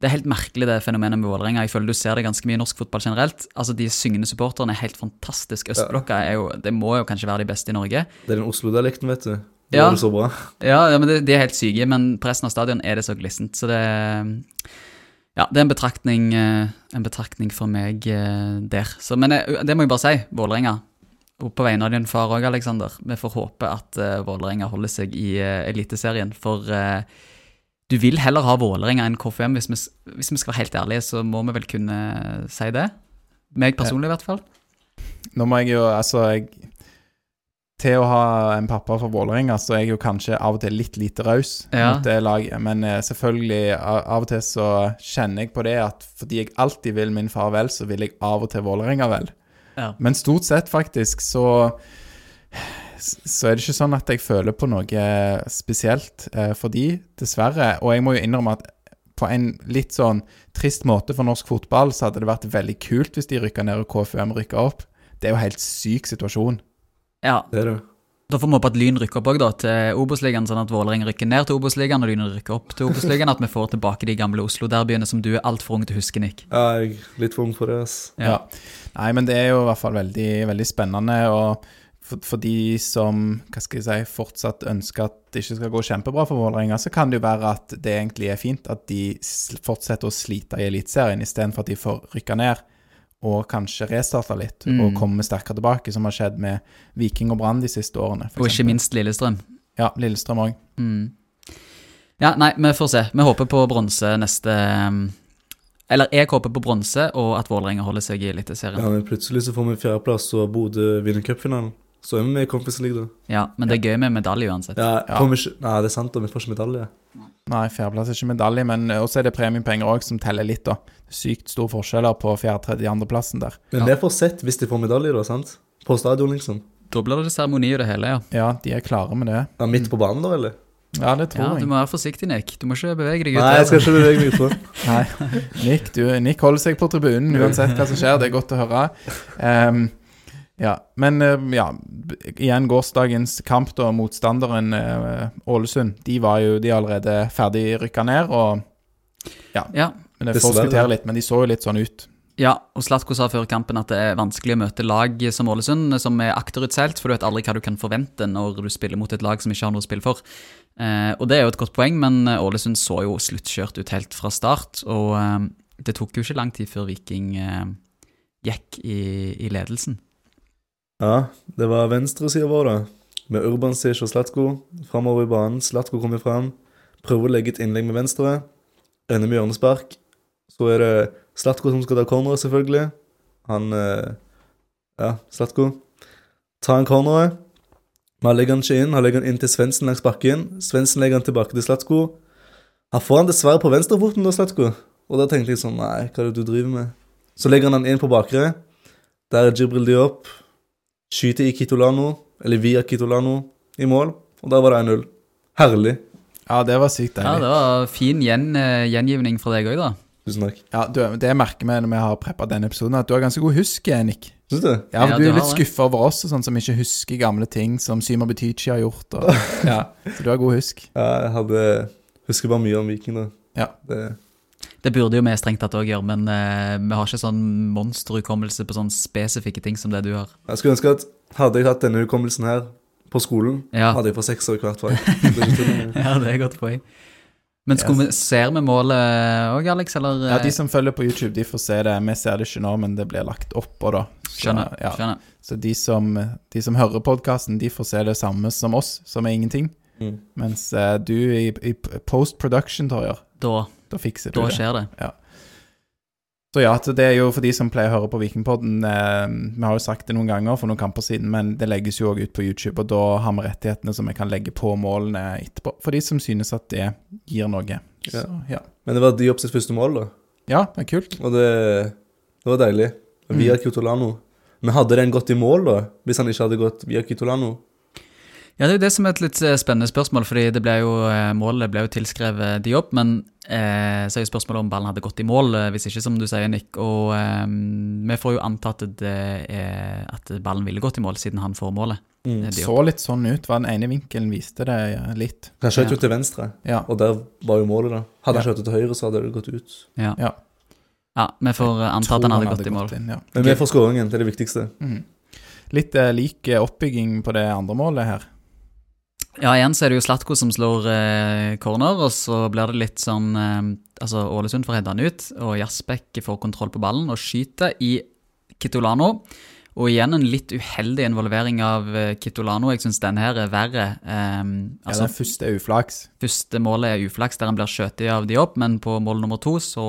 Speaker 2: det er helt merkelig det fenomenet med Vålerenga. Jeg føler du ser det ganske mye i norsk fotball generelt. Altså, De syngende supporterne er helt fantastisk. Østblokka er jo, det må jo kanskje være de beste i Norge.
Speaker 3: det er den Oslo-dialekten, vet du. Det
Speaker 2: Ja.
Speaker 3: var det så bra.
Speaker 2: Ja, ja men det, De er helt syke, men på resten av stadion er det så glissent. Så det Ja, det er en betraktning, eh, en betraktning for meg eh, der. Så, men jeg, det må jeg bare si, Vålerenga. Og på vegne av din far òg, Aleksander. Vi får håpe at eh, Vålerenga holder seg i eh, Eliteserien. For eh, du vil heller ha Vålerenga enn KFM. Hvis vi, s- hvis vi skal være helt ærlige, så må vi vel kunne eh, si det. Meg personlig, i hvert fall.
Speaker 1: Nå må jeg jo, altså jeg, Til å ha en pappa fra Vålerenga, så er jeg jo kanskje av og til litt lite raus
Speaker 2: Ja.
Speaker 1: mot det laget. Men eh, selvfølgelig, a- av og til så kjenner jeg på det at fordi jeg alltid vil min far vel, så vil jeg av og til Vålerenga vel.
Speaker 2: Ja.
Speaker 1: Men stort sett, faktisk, så så er det ikke sånn at jeg føler på noe spesielt eh, for de, dessverre. Og jeg må jo innrømme at på en litt sånn trist måte for norsk fotball, så hadde det vært veldig kult hvis de rykka ned og KFUM rykka opp. Det er jo en helt syk situasjon.
Speaker 2: Ja,
Speaker 3: Det er det.
Speaker 2: Da får vi håpe at Lyn rykker opp også da, til Obos-ligaen, sånn at Vålerenga rykker ned til Obos-ligaen og Lyn rykker opp til Obos-ligaen. At vi får tilbake de gamle Oslo-derbyene som du er altfor ung til å huske, Nick.
Speaker 3: Ja, jeg er litt for ung for det, ass.
Speaker 2: Ja.
Speaker 1: Nei, men det er jo i hvert fall veldig, veldig spennende. Og for, for de som hva skal jeg si, fortsatt ønsker at det ikke skal gå kjempebra for Vålerenga, så kan det jo være at det egentlig er fint at de sl- fortsetter å slite i Eliteserien, istedenfor at de får rykka ned og kanskje restarte litt
Speaker 2: Mm.
Speaker 1: og komme sterkere tilbake, som har skjedd med Viking og Brann de siste årene. for
Speaker 2: Og ikke
Speaker 1: eksempel.
Speaker 2: minst Lillestrøm. Mm.
Speaker 1: Ja, Lillestrøm òg.
Speaker 2: Ja, nei, vi får se. Vi håper på bronse neste mm, Eller jeg håper på bronse, og at Vålerenga holder seg i Eliteserien.
Speaker 3: Ja, men plutselig så får vi fjerdeplass, og Bodø vinner cupfinalen. Så er vi med i Conference League, da.
Speaker 2: Ja, men det er gøy med medalje uansett.
Speaker 3: Ja, Kommer ikke Nei, det er sant, da. Vi får ikke medalje.
Speaker 1: Nei, fjerdeplass er ikke medalje, men også er det premiepenger òg som teller litt, da. Sykt store forskjeller på fjerde-, tredje-, andreplassen der.
Speaker 3: Men vi får sett hvis de får medalje, da, sant? På stadion, liksom.
Speaker 2: Da blir det seremoni og det hele, ja.
Speaker 1: Ja, de er klare med det.
Speaker 3: Ja, midt på banen, da, eller?
Speaker 1: Ja, det tror
Speaker 2: ja.
Speaker 1: jeg.
Speaker 2: Du må være forsiktig, Nick. Du må ikke bevege deg ut.
Speaker 3: Nei, jeg skal ikke bevege meg utfor.
Speaker 1: Nei. Nick, du, Nick holder seg på tribunen uansett hva som skjer. Det er godt å høre. Ehm, ja, Men eh, ja, b- igjen gårsdagens kamp, da. Motstanderen eh, Ålesund. De var jo de er allerede ferdig rykka ned. og
Speaker 2: Ja.
Speaker 1: men Jeg
Speaker 3: Dessverre.
Speaker 1: forskutterer litt, men de så jo litt sånn ut.
Speaker 2: Ja, og Slatko sa før kampen at det er vanskelig å møte lag som Ålesund, som er akterutseilt, for du vet aldri hva du kan forvente når du spiller mot et lag som ikke har noe å spille for. Eh, og det er jo et godt poeng, men eh, Ålesund så jo sluttkjørt ut helt fra start, og eh, det tok jo ikke lang tid før Viking eh, gikk i, i ledelsen.
Speaker 3: Ja, det var venstresida vår, da. Med Urban Sish og Slatko framover i banen. Slatko kommer fram. Prøver å legge et innlegg med venstre. Ender med hjørnespark. Så er det Slatko som skal ta corneret, selvfølgelig. Han eh, Ja, Slatko. Ta en corneret. Men han legger han ikke inn. Han legger han inn til Svendsen langs bakken. Svendsen legger han tilbake til Slatko. Han får han dessverre på venstrefoten, da, Slatko. Og da tenkte jeg sånn Nei, hva er det du driver med? Så legger han han inn på bakre. Der er Jibril Diop skyter i Kitolano, eller via Kitolano, i mål. Og der var det 1-0. Herlig.
Speaker 1: Ja, det var sykt
Speaker 2: Ja,
Speaker 1: deilig.
Speaker 2: det var fin gjen, eh, gjengivning fra deg òg, da.
Speaker 3: Tusen takk.
Speaker 1: Ja, du, det merker vi når vi har preppa denne episoden, at du har ganske god husk, Nick.
Speaker 3: Syns du?
Speaker 1: Ja, for
Speaker 2: Ja,
Speaker 1: Du
Speaker 2: du
Speaker 1: er
Speaker 2: har
Speaker 1: litt
Speaker 2: det.
Speaker 1: skuffa over oss og sånn som ikke husker gamle ting som Symer Butichi har gjort. Og, ja, så du har god husk.
Speaker 3: Ja, jeg hadde Husker bare mye om Viking, da.
Speaker 1: Ja.
Speaker 3: Det,
Speaker 2: Det burde jo vi strengt tatt òg gjøre, men eh, vi har ikke sånn monsterhukommelse på sånne spesifikke ting som det du har.
Speaker 3: jeg skulle ønske at hadde jeg hatt denne hukommelsen her på skolen,
Speaker 2: Ja.
Speaker 3: hadde jeg fått sekser i hvert fag. Det er ikke tull.
Speaker 2: Ja, det er et godt poeng. Men skulle vi, ser vi målet òg, Alex, eller? eh,
Speaker 1: Ja, De som følger på YouTube, de får se det. Vi ser det ikke nå, men det blir lagt oppå, da. Så,
Speaker 2: skjønner,
Speaker 1: ja.
Speaker 2: skjønner.
Speaker 1: Så de som, de som hører podkasten, de får se det samme som oss, som er ingenting.
Speaker 3: Mm.
Speaker 1: Mens eh, du i, i post production, Torjer,
Speaker 2: Da,
Speaker 1: da fikser du
Speaker 2: da
Speaker 1: det.
Speaker 2: skjer det.
Speaker 1: Så ja, så det er jo for de som pleier å høre på Vikingpodden eh, Vi har jo sagt det noen ganger for noen kamper siden, men det legges jo òg ut på YouTube, og da har vi rettighetene som vi kan legge på målene etterpå. For de som synes at det gir noe. Så ja.
Speaker 3: Men det var Diop sitt første mål, da.
Speaker 1: Ja, det er kult.
Speaker 3: Og det, det var deilig. Via Kitolano. Men hadde den gått i mål, da? Hvis han ikke hadde gått via Kitolano?
Speaker 2: Ja, Det er jo det som er et litt eh, spennende spørsmål, fordi det ble jo, eh, målet ble jo tilskrevet Diop. Men eh, så er jo spørsmålet om ballen hadde gått i mål, eh, hvis ikke, som du sier, Nick. Og eh, vi får jo anta at, det er, at ballen ville gått i mål, siden han får målet.
Speaker 3: Mm.
Speaker 2: Eh, Diop.
Speaker 1: Så litt sånn ut. Var den ene vinkelen viste det eh, litt.
Speaker 3: Han skjøt
Speaker 2: Ja.
Speaker 3: jo til venstre,
Speaker 1: Ja.
Speaker 3: og der var jo målet, da. Hadde han
Speaker 1: Ja.
Speaker 3: skjøt til høyre, så hadde det gått ut.
Speaker 2: Ja.
Speaker 1: Ja.
Speaker 2: ja, vi får eh, anta at han hadde gått i mål.
Speaker 1: inn, ja.
Speaker 3: Men vi får skåringen, det er det viktigste.
Speaker 1: Mhm. Litt eh, lik eh, oppbygging på det andre målet her.
Speaker 2: Ja, igjen så er det jo Slatko som slår eh, corner, og så blir det litt sånn eh, Altså, Ålesund får hedda han ut, og Jasbekk får kontroll på ballen og skyter i Kitolano. Og igjen en litt uheldig involvering av eh, Kitolano. Jeg syns den her er verre. Eh,
Speaker 1: Ja,
Speaker 2: altså,
Speaker 1: den første er uflaks.
Speaker 2: første målet er uflaks, der han blir skjøtet av Diop, men på mål nummer to så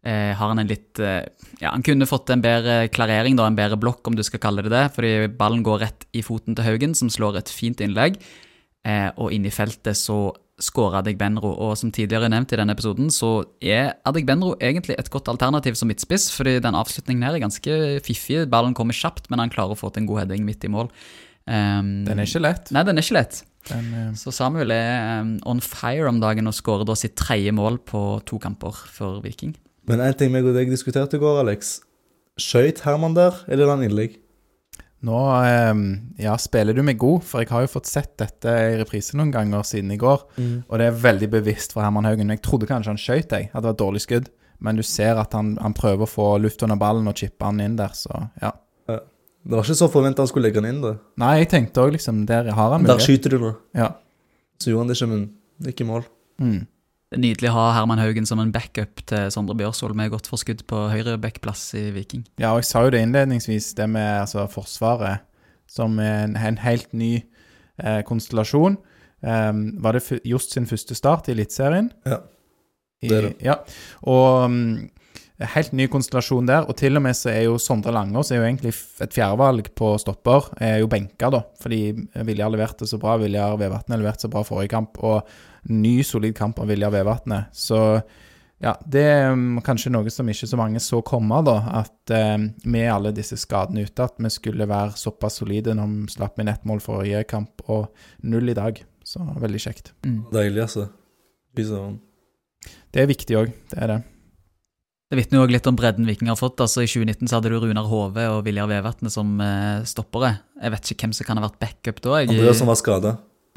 Speaker 2: eh, har han en litt eh, Ja, han kunne fått en bedre klarering, da, en bedre blokk, om du skal kalle det det, fordi ballen går rett i foten til Haugen, som slår et fint innlegg, eh, og inne i feltet så skårer Adegbenro, og som tidligere nevnt i denne episoden, så er Adegbenro egentlig et godt alternativ som midtspiss, fordi den avslutningen her er ganske fiffig. Ballen kommer kjapt, men han klarer å få til en god heading midt i mål. Um,
Speaker 1: Den er ikke lett.
Speaker 2: Nei, den er ikke lett.
Speaker 1: Den, eh,
Speaker 2: Så Samuel er um, on fire om dagen og skårer da sitt tredje mål på to kamper for Viking.
Speaker 3: Men én ting meg og deg diskuterte i går, Alex. Skøyt Herman der, eller la han innlegg?
Speaker 1: nå eh, ja, spiller du meg god, for jeg har jo fått sett dette i reprise noen ganger siden i går, og det er veldig bevisst fra Herman Haugen. Jeg trodde kanskje han skøyt deg, at det var et dårlig skudd, men du ser at han, han prøver å få luft under ballen og chippe han inn der, så ja.
Speaker 3: Det var ikke så forventa han skulle legge han inn, da.
Speaker 1: Nei, jeg tenkte òg liksom Der har han
Speaker 3: Der
Speaker 1: mulighet.
Speaker 3: skyter du nå.
Speaker 1: Ja.
Speaker 3: Så gjorde han det ikke, men det er ikke i mål.
Speaker 1: Mm.
Speaker 2: Det er nydelig å ha Herman Haugen som en backup til Sondre Bjørsvold med godt forskudd på høyre backplass i Viking.
Speaker 1: Ja, og jeg sa jo det innledningsvis, det med altså, Forsvaret som en, en helt ny eh, konstellasjon. Ehm, var det fu- Jost sin første start i Eliteserien?
Speaker 3: Ja,
Speaker 1: I-
Speaker 3: det er det.
Speaker 1: Ja, og mm, helt ny konstellasjon der, og til og med så er jo Sondre Langås er jo egentlig f- et fjerdevalg på stopper, er jo benka da, fordi Viljar leverte så bra, Viljar Vevatnet leverte så bra forrige kamp, og ny solid kamp av Viljar Vevatnet, så ja, det er mm, kanskje noe som ikke så mange så komme da, at eh, med alle disse skadene ute, at vi skulle være såpass solide når vi slapp inn ett mål forrige kamp, og null i dag, så veldig kjekt.
Speaker 3: Deilig, altså. Fy søren.
Speaker 1: Det er viktig òg, det er det.
Speaker 2: Det vitner jo også litt om bredden Viking har fått. altså I 2019 så hadde du Runar Hove og Viljar Vevatnet som eh, stoppere. Jeg vet ikke hvem som kan ha vært backup da. Jeg,
Speaker 3: Andreas som var skada.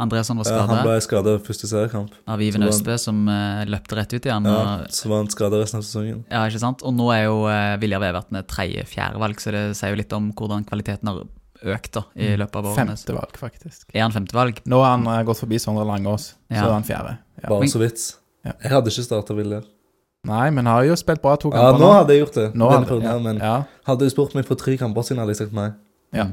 Speaker 2: Andreasson var
Speaker 3: Ja, han
Speaker 2: skada
Speaker 3: ble skada første seriekamp.
Speaker 2: av Iven
Speaker 3: så var han-
Speaker 2: Østbø, som eh, løpte rett ut igjen.
Speaker 3: Ja,
Speaker 2: og
Speaker 3: så var han skada resten av sesongen.
Speaker 2: Ja, ikke sant? Og nå er jo eh, Viljar Veverten et tredje-fjerde valg, så det sier jo litt om hvordan kvaliteten har økt da, i
Speaker 3: Mm.
Speaker 2: løpet av årene.
Speaker 1: Mm. Femte valg, faktisk.
Speaker 2: Er han femtevalg?
Speaker 1: Nå har han eh, gått forbi Sondre Langås, så
Speaker 2: Ja.
Speaker 1: er han fjerde. Ja.
Speaker 3: Bare
Speaker 2: Men-
Speaker 3: så vidt.
Speaker 1: Ja.
Speaker 3: Jeg hadde ikke starta Viljar.
Speaker 1: Nei, men har jo spilt bra to
Speaker 3: Ja,
Speaker 1: kamper
Speaker 3: nå hadde jeg gjort det.
Speaker 1: Nå
Speaker 3: denne
Speaker 1: hadde-
Speaker 3: perioden her, men
Speaker 1: Ja,
Speaker 3: Hadde du spurt meg for tre kamper siden, hadde jeg sagt nei.
Speaker 1: ja.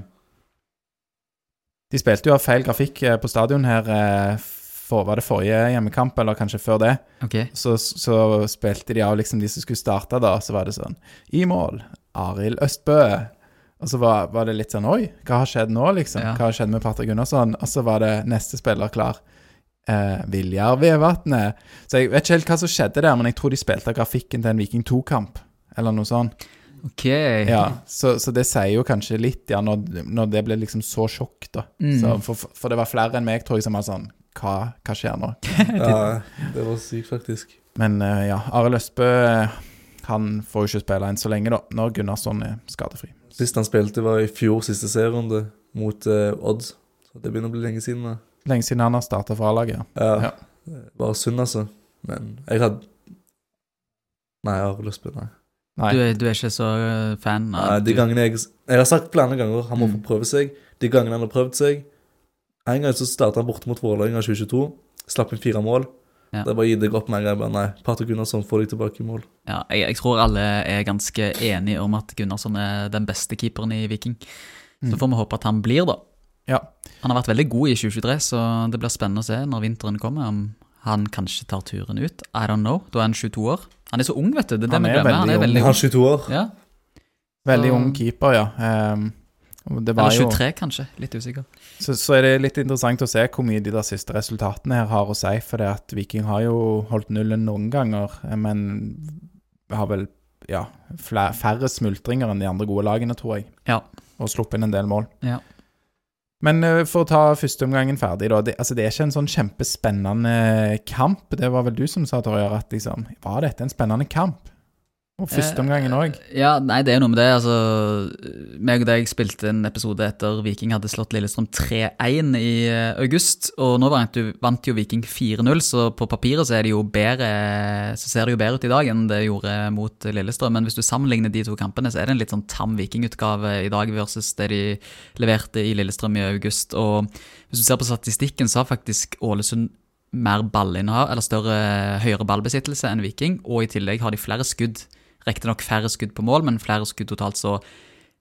Speaker 1: De spilte jo av feil grafikk eh, på stadion her, eh, for, var det forrige hjemmekamp, eller kanskje før det?
Speaker 2: Ok.
Speaker 1: så, så spilte de av liksom de som skulle starte, da, så var det sånn I mål, Arild Østbø. Og så var, var det litt sånn Oi, hva har skjedd nå, liksom?
Speaker 2: Ja.
Speaker 1: Hva har skjedd med Patrick Gunnarsson? Og så var det neste spiller klar. Eh, Viljar Vevatnet. Så jeg vet ikke helt hva som skjedde der, men jeg tror de spilte av grafikken til en Viking 2-kamp, eller noe sånt.
Speaker 2: Ok.
Speaker 1: Ja, så, så det sier jo kanskje litt, ja, når, når det ble liksom så sjokk, da.
Speaker 2: Mm.
Speaker 1: Så, for, for det var flere enn meg, tror jeg, som var sånn Hva, hva skjer nå?
Speaker 3: Ja, det var sykt, faktisk.
Speaker 1: Men eh, ja, Arild Østbø eh, han får jo ikke spille enn så lenge, da, når Gunnarsson er skadefri.
Speaker 3: Sist han spilte, var i fjor siste serierunde mot eh, Odd. Så det begynner å bli lenge siden. da.
Speaker 1: Lenge siden han har starta for A-laget.
Speaker 3: Ja.
Speaker 1: Ja.
Speaker 3: Bare synd, altså. Men jeg hadde Nei, jeg har lyst på nei.
Speaker 1: Nei.
Speaker 2: Du, er- du er ikke så eh, fan av
Speaker 3: nei de
Speaker 2: du-
Speaker 3: gangene jeg Jeg har sagt flere ganger han må få
Speaker 2: Mm.
Speaker 3: prøve seg. De gangene han har prøvd seg En gang så starta han borte mot Vålerenga i 2022. Slapp inn fire mål.
Speaker 2: Ja.
Speaker 3: Det er bare å gi deg opp med en gang. bare, Nei, Patrick Gunnarsson får deg tilbake i mål.
Speaker 2: Ja, jeg, jeg tror alle er ganske enige om at Gunnarsson er den beste keeperen i Viking. Så får vi håpe at han blir, da.
Speaker 1: Ja.
Speaker 2: Han har vært veldig god i 2023, så det blir spennende å se når vinteren kommer, om han kanskje tar turen ut. I don't know. Da er han 22 år. Han er så ung, vet du. Det er det
Speaker 1: Han
Speaker 2: vi
Speaker 1: er
Speaker 2: glemmer. Han er
Speaker 1: veldig
Speaker 2: veldig
Speaker 3: Han er
Speaker 2: ung.
Speaker 3: 22 år.
Speaker 2: Ja.
Speaker 1: Veldig
Speaker 2: Så-
Speaker 1: ung keeper, ja. Ehm, og det var
Speaker 2: Eller
Speaker 1: jo,
Speaker 2: 23, kanskje. Litt usikker.
Speaker 1: så, så er det litt interessant å se hvor mye de der siste resultatene her har å si. For det at Viking har jo holdt nullen noen ganger, eh, men har vel ja, fla- færre smultringer enn de andre gode lagene, tror jeg.
Speaker 2: Ja.
Speaker 1: Og sluppet inn en del mål.
Speaker 2: Ja.
Speaker 1: Men eh, for å ta førsteomgangen ferdig, da. Det, altså, det er ikke en sånn kjempespennende kamp. Det var vel du som sa, Torjar, at liksom Var dette en spennende kamp? Og
Speaker 2: Eh,
Speaker 1: førsteomgangen òg.
Speaker 2: Ja, nei, det er noe med det. Altså, meg og deg spilte en episode etter Viking hadde slått Lillestrøm 3-1 i eh, august, og nå vant jo, vant jo Viking 4-0, så på papiret så, er det jo bedre, så ser det jo bedre ut i dag enn det gjorde mot Lillestrøm. Men hvis du sammenligner de to kampene, så er det en litt sånn tam Viking-utgave i dag versus det de leverte i Lillestrøm i august. Og hvis du ser på statistikken, så har faktisk Ålesund mer ballinnehav, eller større høyere ballbesittelse enn Viking, og i tillegg har de flere skudd. Riktignok færre skudd på mål, men flere skudd totalt, så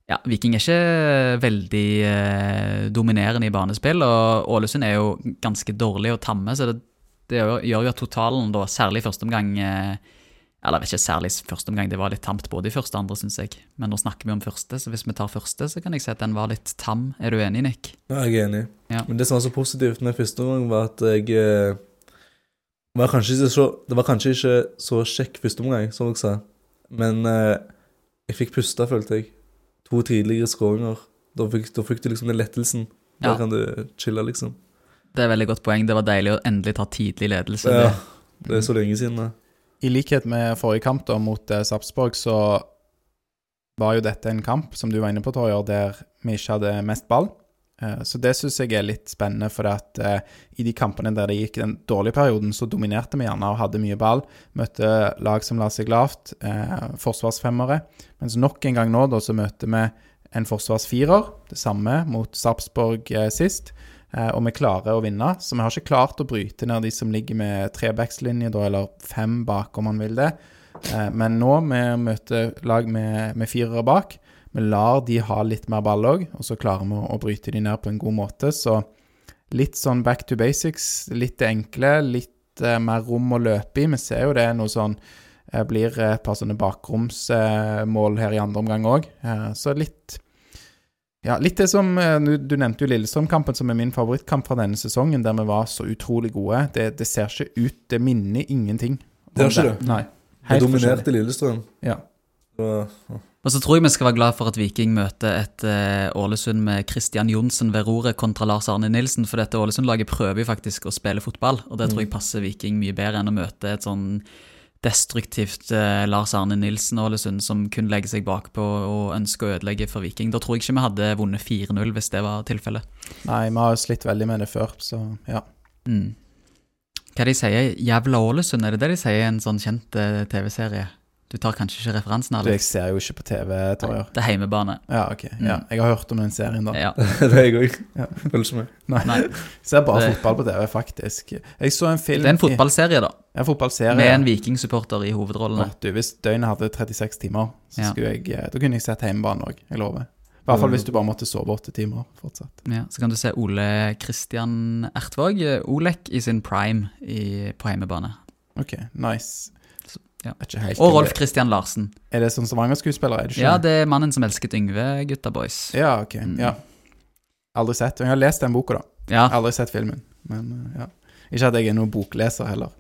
Speaker 2: ja, Viking er ikke veldig eh, dominerende i banespill, og Ålesund er jo ganske dårlig og tamme, så det, det gjør gjør jo at totalen, da, særlig i første omgang eh, Eller jeg vet ikke særlig i første omgang, det var litt tamt både i første og andre, syns jeg, men nå snakker vi om første, så hvis vi tar første, så kan jeg si at den var litt tam. Er du enig, Nick?
Speaker 3: Ja, jeg er enig.
Speaker 2: Ja.
Speaker 3: Men det som var så positivt med første omgang, var at jeg eh, var kanskje ikke så, Det var kanskje ikke så kjekk første omgang, som dere sa, men eh, jeg fikk puste, følte jeg. To tidligere skåringer. Da fikk, da fikk du liksom den lettelsen. Da
Speaker 2: Ja.
Speaker 3: kan du chille, liksom.
Speaker 2: Det er veldig godt poeng, det var deilig å endelig ta tidlig ledelse.
Speaker 3: Ja,
Speaker 2: Det-
Speaker 3: det er så lenge siden. da.
Speaker 1: I likhet med forrige kamp da, mot eh, Sarpsborg, så var jo dette en kamp, som du var inne på, Torjer, der vi ikke hadde mest ball. Eh, Så det syns jeg er litt spennende, for at eh, i de kampene der det gikk den dårlige perioden, så dominerte vi gjerne og hadde mye ball. Møtte lag som la seg lavt, eh, forsvarsfemmere. Mens nok en gang nå, da, så møter vi en forsvarsfirer. Det samme mot Sarpsborg eh, sist. Eh, og vi klarer å vinne. Så vi har ikke klart å bryte ned de som ligger med trebackslinje, da, eller fem bak, om man vil det. Eh, men nå vi møter lag med, med firere bak. Vi lar de ha litt mer ball òg, og så klarer vi å bryte de ned på en god måte. Så litt sånn back to basics, litt det enkle, litt eh, mer rom å løpe i. Vi ser jo det er noe sånn eh, blir et par sånne bakromsmål eh, mål her i andre omgang òg. Eh, så litt ja, litt det som eh, Du du nevnte jo Lillestrøm-kampen, som er min favorittkamp fra denne sesongen, der vi var så utrolig gode. Det, det ser ikke ut Det minner ingenting. om
Speaker 3: Det gjør ikke det.
Speaker 1: Nei.
Speaker 3: Det
Speaker 1: Helt forskjellig.
Speaker 3: dominerte Lillestrøm.
Speaker 1: Ja.
Speaker 3: Det var-
Speaker 2: Og så tror jeg vi skal være glad for at Viking møter et eh, Ålesund med Christian Johnsen ved roret kontra Lars Arne Nilsen, for dette Ålesund-laget prøver jo faktisk å spille fotball, og det tror jeg passer Viking mye bedre enn å møte et sånn destruktivt eh, Lars Arne Nilsen Ålesund som kun legger seg bakpå og ønsker å ødelegge for Viking. Da tror jeg ikke vi hadde vunnet 4-0 hvis det var tilfellet.
Speaker 1: Nei, vi har jo slitt veldig med det før, så ja.
Speaker 2: Mm. Hva de sier? Jævla Ålesund, er det det de sier i en sånn kjent eh, TV-serie? Du tar kanskje ikke referansen,
Speaker 1: Du, jeg
Speaker 2: Alex?
Speaker 1: ser jo ikke på TV, Torjer.
Speaker 2: Det er heimebane.
Speaker 1: Ja, OK. Ja. Jeg har hørt om den serien, da.
Speaker 2: Mm. Ja.
Speaker 3: det er jeg òg. Følger ikke med.
Speaker 1: Nei.
Speaker 2: Nei.
Speaker 1: Ser bare
Speaker 2: Det-
Speaker 1: fotball på TV, faktisk. Jeg så en film
Speaker 2: Det er en fotballserie, da.
Speaker 1: i- Ja, fotballserie.
Speaker 2: Med en vikingsupporter i hovedrollene.
Speaker 1: At du, hvis døgnet hadde 36 timer, så
Speaker 2: Ja. Mm.
Speaker 1: skulle jeg, eh, da kunne jeg sett hjemmebane òg. Jeg lover. I hvert fall hvis du bare måtte sove åtte timer fortsatt.
Speaker 2: Ja, så kan du se Ole Kristian Ertvåg, eh, Olek, i sin prime i, på hjemmebane.
Speaker 1: OK, nice.
Speaker 2: Så- ja.
Speaker 1: Er ikke helt
Speaker 2: Og Rolf Kristian Larsen.
Speaker 1: Er det sånn Stavanger-skuespillere? er det ikke?
Speaker 2: Ja, det er mannen som elsket Yngve, gutta boys.
Speaker 1: ja, OK.
Speaker 2: Mm.
Speaker 1: Ja. Aldri sett. Jeg har lest den boka, da.
Speaker 2: Ja,
Speaker 1: Aldri sett filmen. Men eh, ja. Ikke at jeg er noen bokleser heller.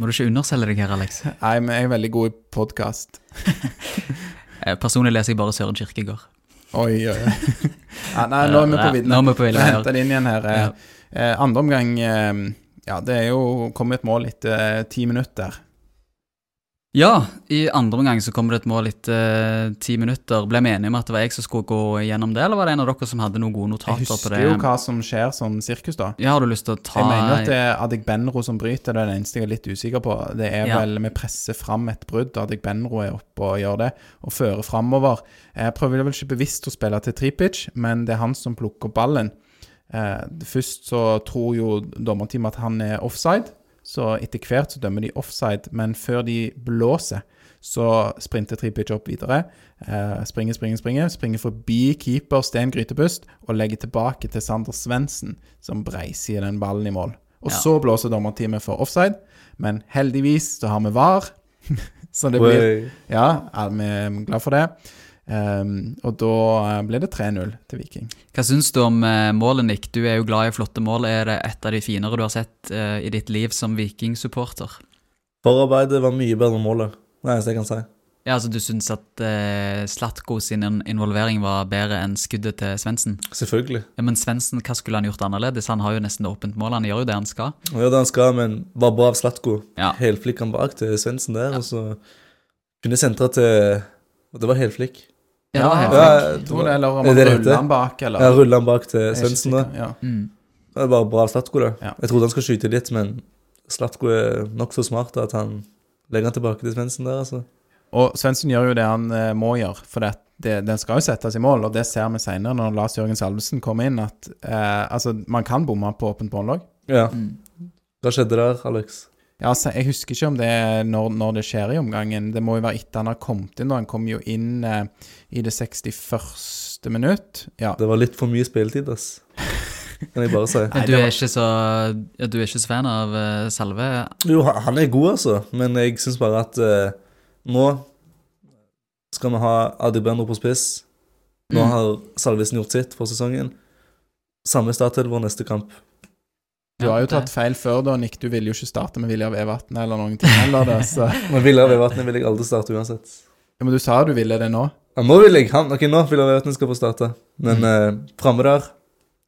Speaker 2: Må du ikke underselge deg her, Alex.
Speaker 1: Nei, men jeg er veldig god i podkast.
Speaker 2: Eh, Personlig leser jeg bare Søren Kirkegård.
Speaker 1: Oi, oi, oi. ja, nei, nå er vi på vidden.
Speaker 2: Nå er vi på
Speaker 1: Vi
Speaker 2: vidden her.
Speaker 1: henter den inn igjen her. Eh,
Speaker 2: Ja.
Speaker 1: Eh, andre omgang eh, Ja, det er jo kommet et mål etter eh, ti minutter.
Speaker 2: Ja, i andre omgang så kommer det et mål etter eh, ti minutter. Ble vi enige om at det var jeg som skulle gå gjennom det, eller var det en av dere som hadde noen gode
Speaker 1: Jeg
Speaker 2: notater på
Speaker 1: husker
Speaker 2: det?
Speaker 1: jo hva som skjer sånn sirkus, da.
Speaker 2: Ja, har du lyst til å ta
Speaker 1: Jeg mener at det er Adegbenro som bryter, det er det eneste jeg er litt usikker på. Det er
Speaker 2: Ja.
Speaker 1: vel vi presser fram et brudd, Adegbenro er oppe og gjør det, og fører framover. Jeg prøver vel ikke bevisst å spille til Tripic, men det er han som plukker ballen. Eh, først så tror jo dommerteamet at han er offside, Så etter hvert så dømmer de offside, men før de blåser, så sprinter Tripic opp videre. Eh, springer, springer, springer. Springer forbi keeper Sten Grytebust og legger tilbake til Sander Svendsen, som breisier den ballen i mål. Og
Speaker 2: Ja.
Speaker 1: så blåser dommerteamet for offside, men heldigvis så har vi VAR. så det blir
Speaker 3: Oi.
Speaker 1: Ja, er vi er glad for det. Ehm, og da eh, ble det 3-0 til Viking.
Speaker 2: Hva syns du om eh, målet, Nick? Du er jo glad i flotte mål. Er det et av de finere du har sett eh, i ditt liv som vikingsupporter?
Speaker 3: Forarbeidet var mye bedre enn målet. Det er det eneste jeg kan si.
Speaker 2: Ja, altså Du syns at eh, Slatko sin in- involvering var bedre enn skuddet til Svendsen?
Speaker 3: Selvfølgelig.
Speaker 2: Ja, men Svendsen, hva skulle han gjort annerledes? Han har jo nesten åpent mål, han gjør jo det han skal.
Speaker 3: Han gjør det han skal, men var bra av Slatko.
Speaker 2: Ja.
Speaker 3: Helflikk han bak til Svendsen der, og så kunne sentra til og Det var helflikk.
Speaker 2: Ja, det var helt
Speaker 3: Ja,
Speaker 2: fint.
Speaker 1: jeg tror det, eller om
Speaker 3: Er
Speaker 1: han
Speaker 3: det det heter?
Speaker 1: ruller den bak, eller
Speaker 3: Jeg rulla han bak til
Speaker 1: Jeg er ikke
Speaker 3: Svendsen, da.
Speaker 1: sikker, Ja.
Speaker 2: Mm.
Speaker 3: Det er bare bra av Slatko, det.
Speaker 1: Ja.
Speaker 3: Jeg trodde han skulle skyte litt, men Slatko er nokså smart til at han legger han tilbake til Svendsen der, altså.
Speaker 1: Og Svendsen gjør jo det han eh, må gjøre, for det, det, den skal jo settes i mål. Og det ser vi senere når Lars Jørgen Salvesen kommer inn, at eh, altså, man kan bomme på åpent mål òg.
Speaker 3: Ja.
Speaker 2: Mm.
Speaker 3: Hva skjedde der, Alex?
Speaker 1: Ja, altså, jeg husker ikke om det er når, når det skjer i omgangen. Det må jo være etter han har kommet inn. Og han kom jo inn eh, i det 61. minutt. Ja.
Speaker 3: Det var litt for mye spilletid, ass. Kan jeg bare si.
Speaker 1: Nei,
Speaker 2: Men du
Speaker 1: det
Speaker 2: er,
Speaker 1: var-
Speaker 2: ikke så, ja, du er ikke så fan av eh, Salve?
Speaker 3: Jo, han han er god, altså, men jeg syns bare at eh, nå skal vi ha Adi Bendro på spiss. Nå
Speaker 2: Mm.
Speaker 3: har Salvesen gjort sitt for sesongen. Samme startelv vår neste kamp.
Speaker 1: Du har
Speaker 2: Ja,
Speaker 1: jo
Speaker 2: det-
Speaker 1: tatt feil før da, Nick. Du ville jo ikke starte med Viljar Vevatn eller noen ting heller. Da, så.
Speaker 3: Men Viljar Vevatnet vil jeg aldri starte uansett.
Speaker 1: Ja, men du sa du ville det nå.
Speaker 3: Ja, nå vil jeg han, ok, nå Viljar Vevatnet skal få starte. Men mm. framme der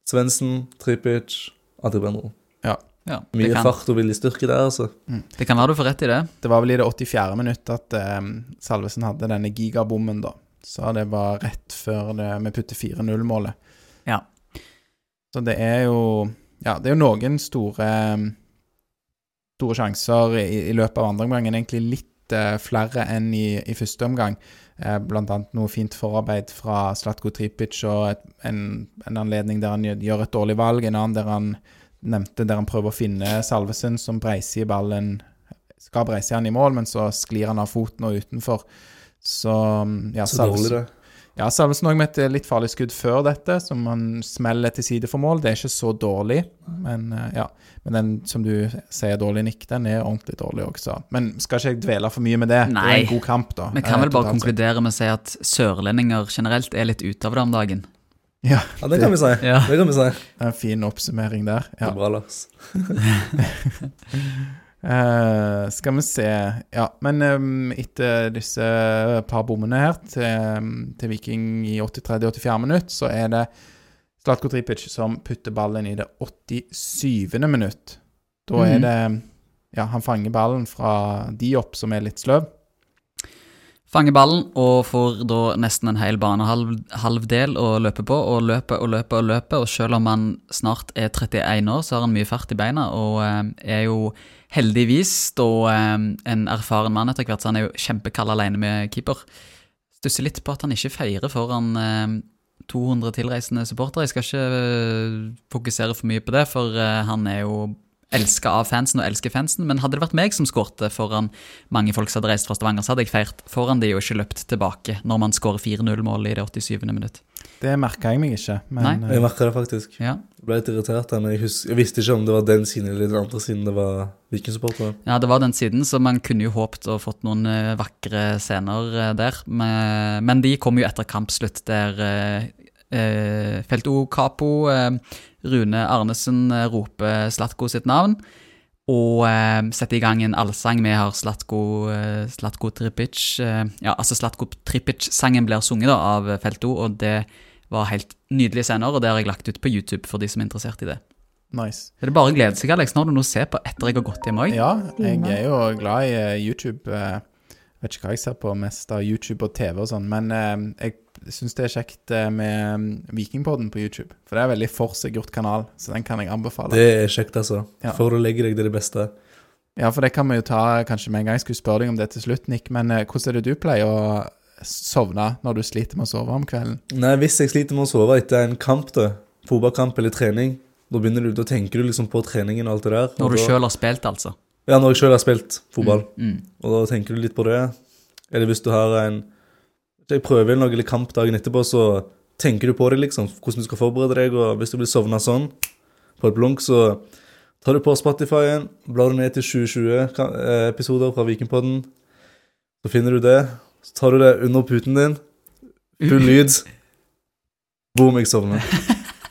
Speaker 3: Svendsen, Tripic, Adi Bendro.
Speaker 2: Ja, det,
Speaker 3: Mye
Speaker 2: kan,
Speaker 3: fart og viljestyrke der, altså.
Speaker 2: det kan være du får rett i det.
Speaker 1: Det var vel i det 84. minutt at eh, Salvesen hadde denne gigabommen, da. Så det var rett før det, vi putter 4-0-målet.
Speaker 2: Ja.
Speaker 1: Så det er jo Ja, det er jo noen store Store sjanser i, i løpet av andre omgang. Egentlig litt eh, flere enn i, i første omgang. Eh, blant annet noe fint forarbeid fra Slatko Tripic og et, en, en anledning der han gjør- gjør et dårlig valg, en annen der han nevnte der han prøver å finne Salvesen, som breiser i ballen skal breise han i mål, men så sklir han av foten og utenfor. Så mm, ja,
Speaker 3: Så dårlig,
Speaker 1: Salvesen
Speaker 3: det.
Speaker 1: ja, Salvesen òg med et litt farlig skudd før dette, som han smeller til side for mål. Det er ikke så dårlig, men eh, ja. Men den som du sier er dårlig, Nick, den er ordentlig dårlig også. Men skal ikke jeg dvele for mye med det? Det er
Speaker 2: Nei.
Speaker 1: en god kamp, da.
Speaker 2: Vi kan
Speaker 1: eh,
Speaker 2: vel
Speaker 1: totalt
Speaker 2: bare
Speaker 1: sett.
Speaker 2: konkludere med å si at sørlendinger generelt er litt ute av det om dagen.
Speaker 1: Ja,
Speaker 3: Ja, det kan vi si.
Speaker 2: Ja.
Speaker 3: Det kan vi si.
Speaker 1: det er en fin oppsummering der.
Speaker 3: Det
Speaker 1: Ja.
Speaker 3: er bra, Lars.
Speaker 1: Eh, skal vi se Ja, men eh, etter disse eh, par bommene her til, ehm, til Viking i 83-84 minutt, så er det Slatko Tripic som putter ballen i det 87. minutt. Da er
Speaker 2: Mhm.
Speaker 1: det Ja, han fanger ballen fra Diop, som er litt sløv.
Speaker 2: Fanger ballen og får da nesten en hel banehalvdel å løpe på, og løpe og løpe og løpe. Og selv om han snart er 31 år, så har han mye fart i beina, og eh, er jo heldigvis da eh, en erfaren mann etter hvert, så han er jo kjempekald alene med keeper. Stusser litt på at han ikke feirer foran eh, 200 tilreisende supportere. Jeg skal ikke eh, fokusere for mye på det, for eh, han er jo elska av fansen og elsker fansen, men hadde det vært meg som skårte foran mange folk som hadde reist fra Stavanger, så hadde jeg feirt foran de og ikke løpt tilbake når man skårer 4-0-mål i det 87. minutt.
Speaker 1: Det merka jeg meg ikke, men
Speaker 3: Jeg
Speaker 1: eh,
Speaker 3: merka det faktisk.
Speaker 2: Ja.
Speaker 3: Jeg ble litt irritert, da, men jeg, hus- jeg visste ikke om det var den siden eller den andre siden det var Viking-supportere.
Speaker 2: ja, det var den siden, så man kunne jo håpt å fått noen eh, vakre scener eh, der. Men men de kom jo etter kampslutt, der eh, eh, Felt O Capo, eh, Rune Arnesen, eh, roper Slatko sitt navn. Og eh, setter i gang en allsang. Vi har Slatko, eh, Slatko Tripic eh, Ja, altså Slatko Tripic-sangen blir sunget da av eh, Felt O, og det var helt nydelige scener, og det har jeg lagt ut på YouTube for de som er interessert i det.
Speaker 1: nice.
Speaker 2: Det er bare å glede seg, Alex. Nå har du noe å se på etter jeg har gått hjem òg.
Speaker 1: Ja, jeg er jo glad i eh, YouTube. eh, Vet ikke hva jeg ser på mest av YouTube og TV og sånn, men eh, jeg syns det er kjekt eh, med mm, Vikingpodden på YouTube. For det er en veldig forseggjort kanal, så den kan jeg anbefale.
Speaker 3: Det er kjekt, altså.
Speaker 1: Ja.
Speaker 3: Før du legger deg, det er det beste.
Speaker 1: Ja, for det kan vi jo ta kanskje med en gang. Jeg skulle spørre deg om det til slutt, Nick, men eh, hvordan er det du pleier å sovne når du sliter med å sove om kvelden?
Speaker 3: Nei, Hvis jeg sliter med å sove etter en kamp, da, fotballkamp eller trening, da begynner du, da tenker du liksom på treningen og alt det der. og
Speaker 2: Når du
Speaker 3: da-
Speaker 2: sjøl har spilt, altså.
Speaker 3: Ja, når jeg sjøl har spilt fotball,
Speaker 2: Mm.
Speaker 3: og da tenker du litt på det. Eller hvis du har en jeg prøver noe eller kamp dagen etterpå, så tenker du på det, liksom. Hvordan du skal forberede deg, og hvis du blir sovna sånn på et blunk, så tar du på Spotify-en, blar du ned til 2020 ka- eh, episoder fra Vikingpodden. Så finner du det, så tar du det under puten din, full lyd. Boom, jeg sovner.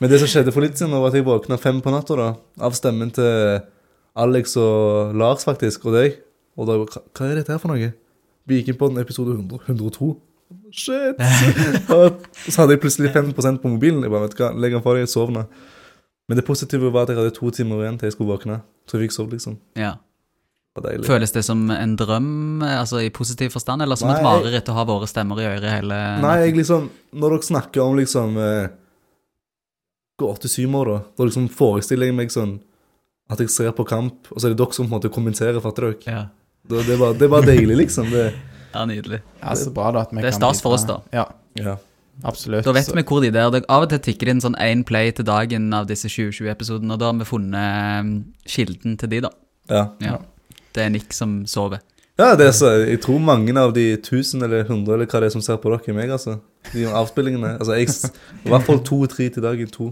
Speaker 3: Men det som skjedde for litt siden, var at jeg våkna fem på natta da, av stemmen til Alex og Lars, faktisk, og deg. Og da hva- Hva er dette her for noe? Vikingpodden episode 100, 102. Shit! og så hadde jeg plutselig 5 på mobilen. Jeg bare, vet du hva, Legg den fra deg, jeg sovner. Men det positive var at jeg hadde to timer igjen til jeg skulle våkne. Så jeg fikk sove, liksom.
Speaker 2: Ja.
Speaker 3: Det var deilig.
Speaker 2: Føles det som en drøm, altså i positiv forstand, eller som et
Speaker 3: Nei.
Speaker 2: mareritt å ha våre stemmer i øret hele
Speaker 3: Nei, jeg liksom Når dere snakker om liksom eh, Går til syvmål, da. Da liksom forestiller jeg meg sånn at jeg ser på kamp, og så er det dere som på en måte kommenterer, fatter dere?
Speaker 2: Ja.
Speaker 3: Det, det, er bare, det er bare deilig, liksom. Det,
Speaker 2: ja, nydelig.
Speaker 1: Ja, så bra da at vi
Speaker 2: Det er
Speaker 1: kan
Speaker 2: stas for
Speaker 1: bidra.
Speaker 2: oss, da.
Speaker 1: Ja,
Speaker 3: ja.
Speaker 1: absolutt.
Speaker 2: Da vet
Speaker 1: Så-
Speaker 2: vi hvor de der. Det, av og til tikker det inn sånn én play til dagen av disse 2020-episodene, og da har vi funnet mm, kilden til de, da.
Speaker 3: ja.
Speaker 2: Ja. Det er Nick som sover.
Speaker 3: Ja, det er så, jeg tror mange av de tusen eller hundre eller hva det er som ser på dere, er meg, altså. De avspillingene. Altså, jeg, s- I hvert fall to-tre til dagen. To.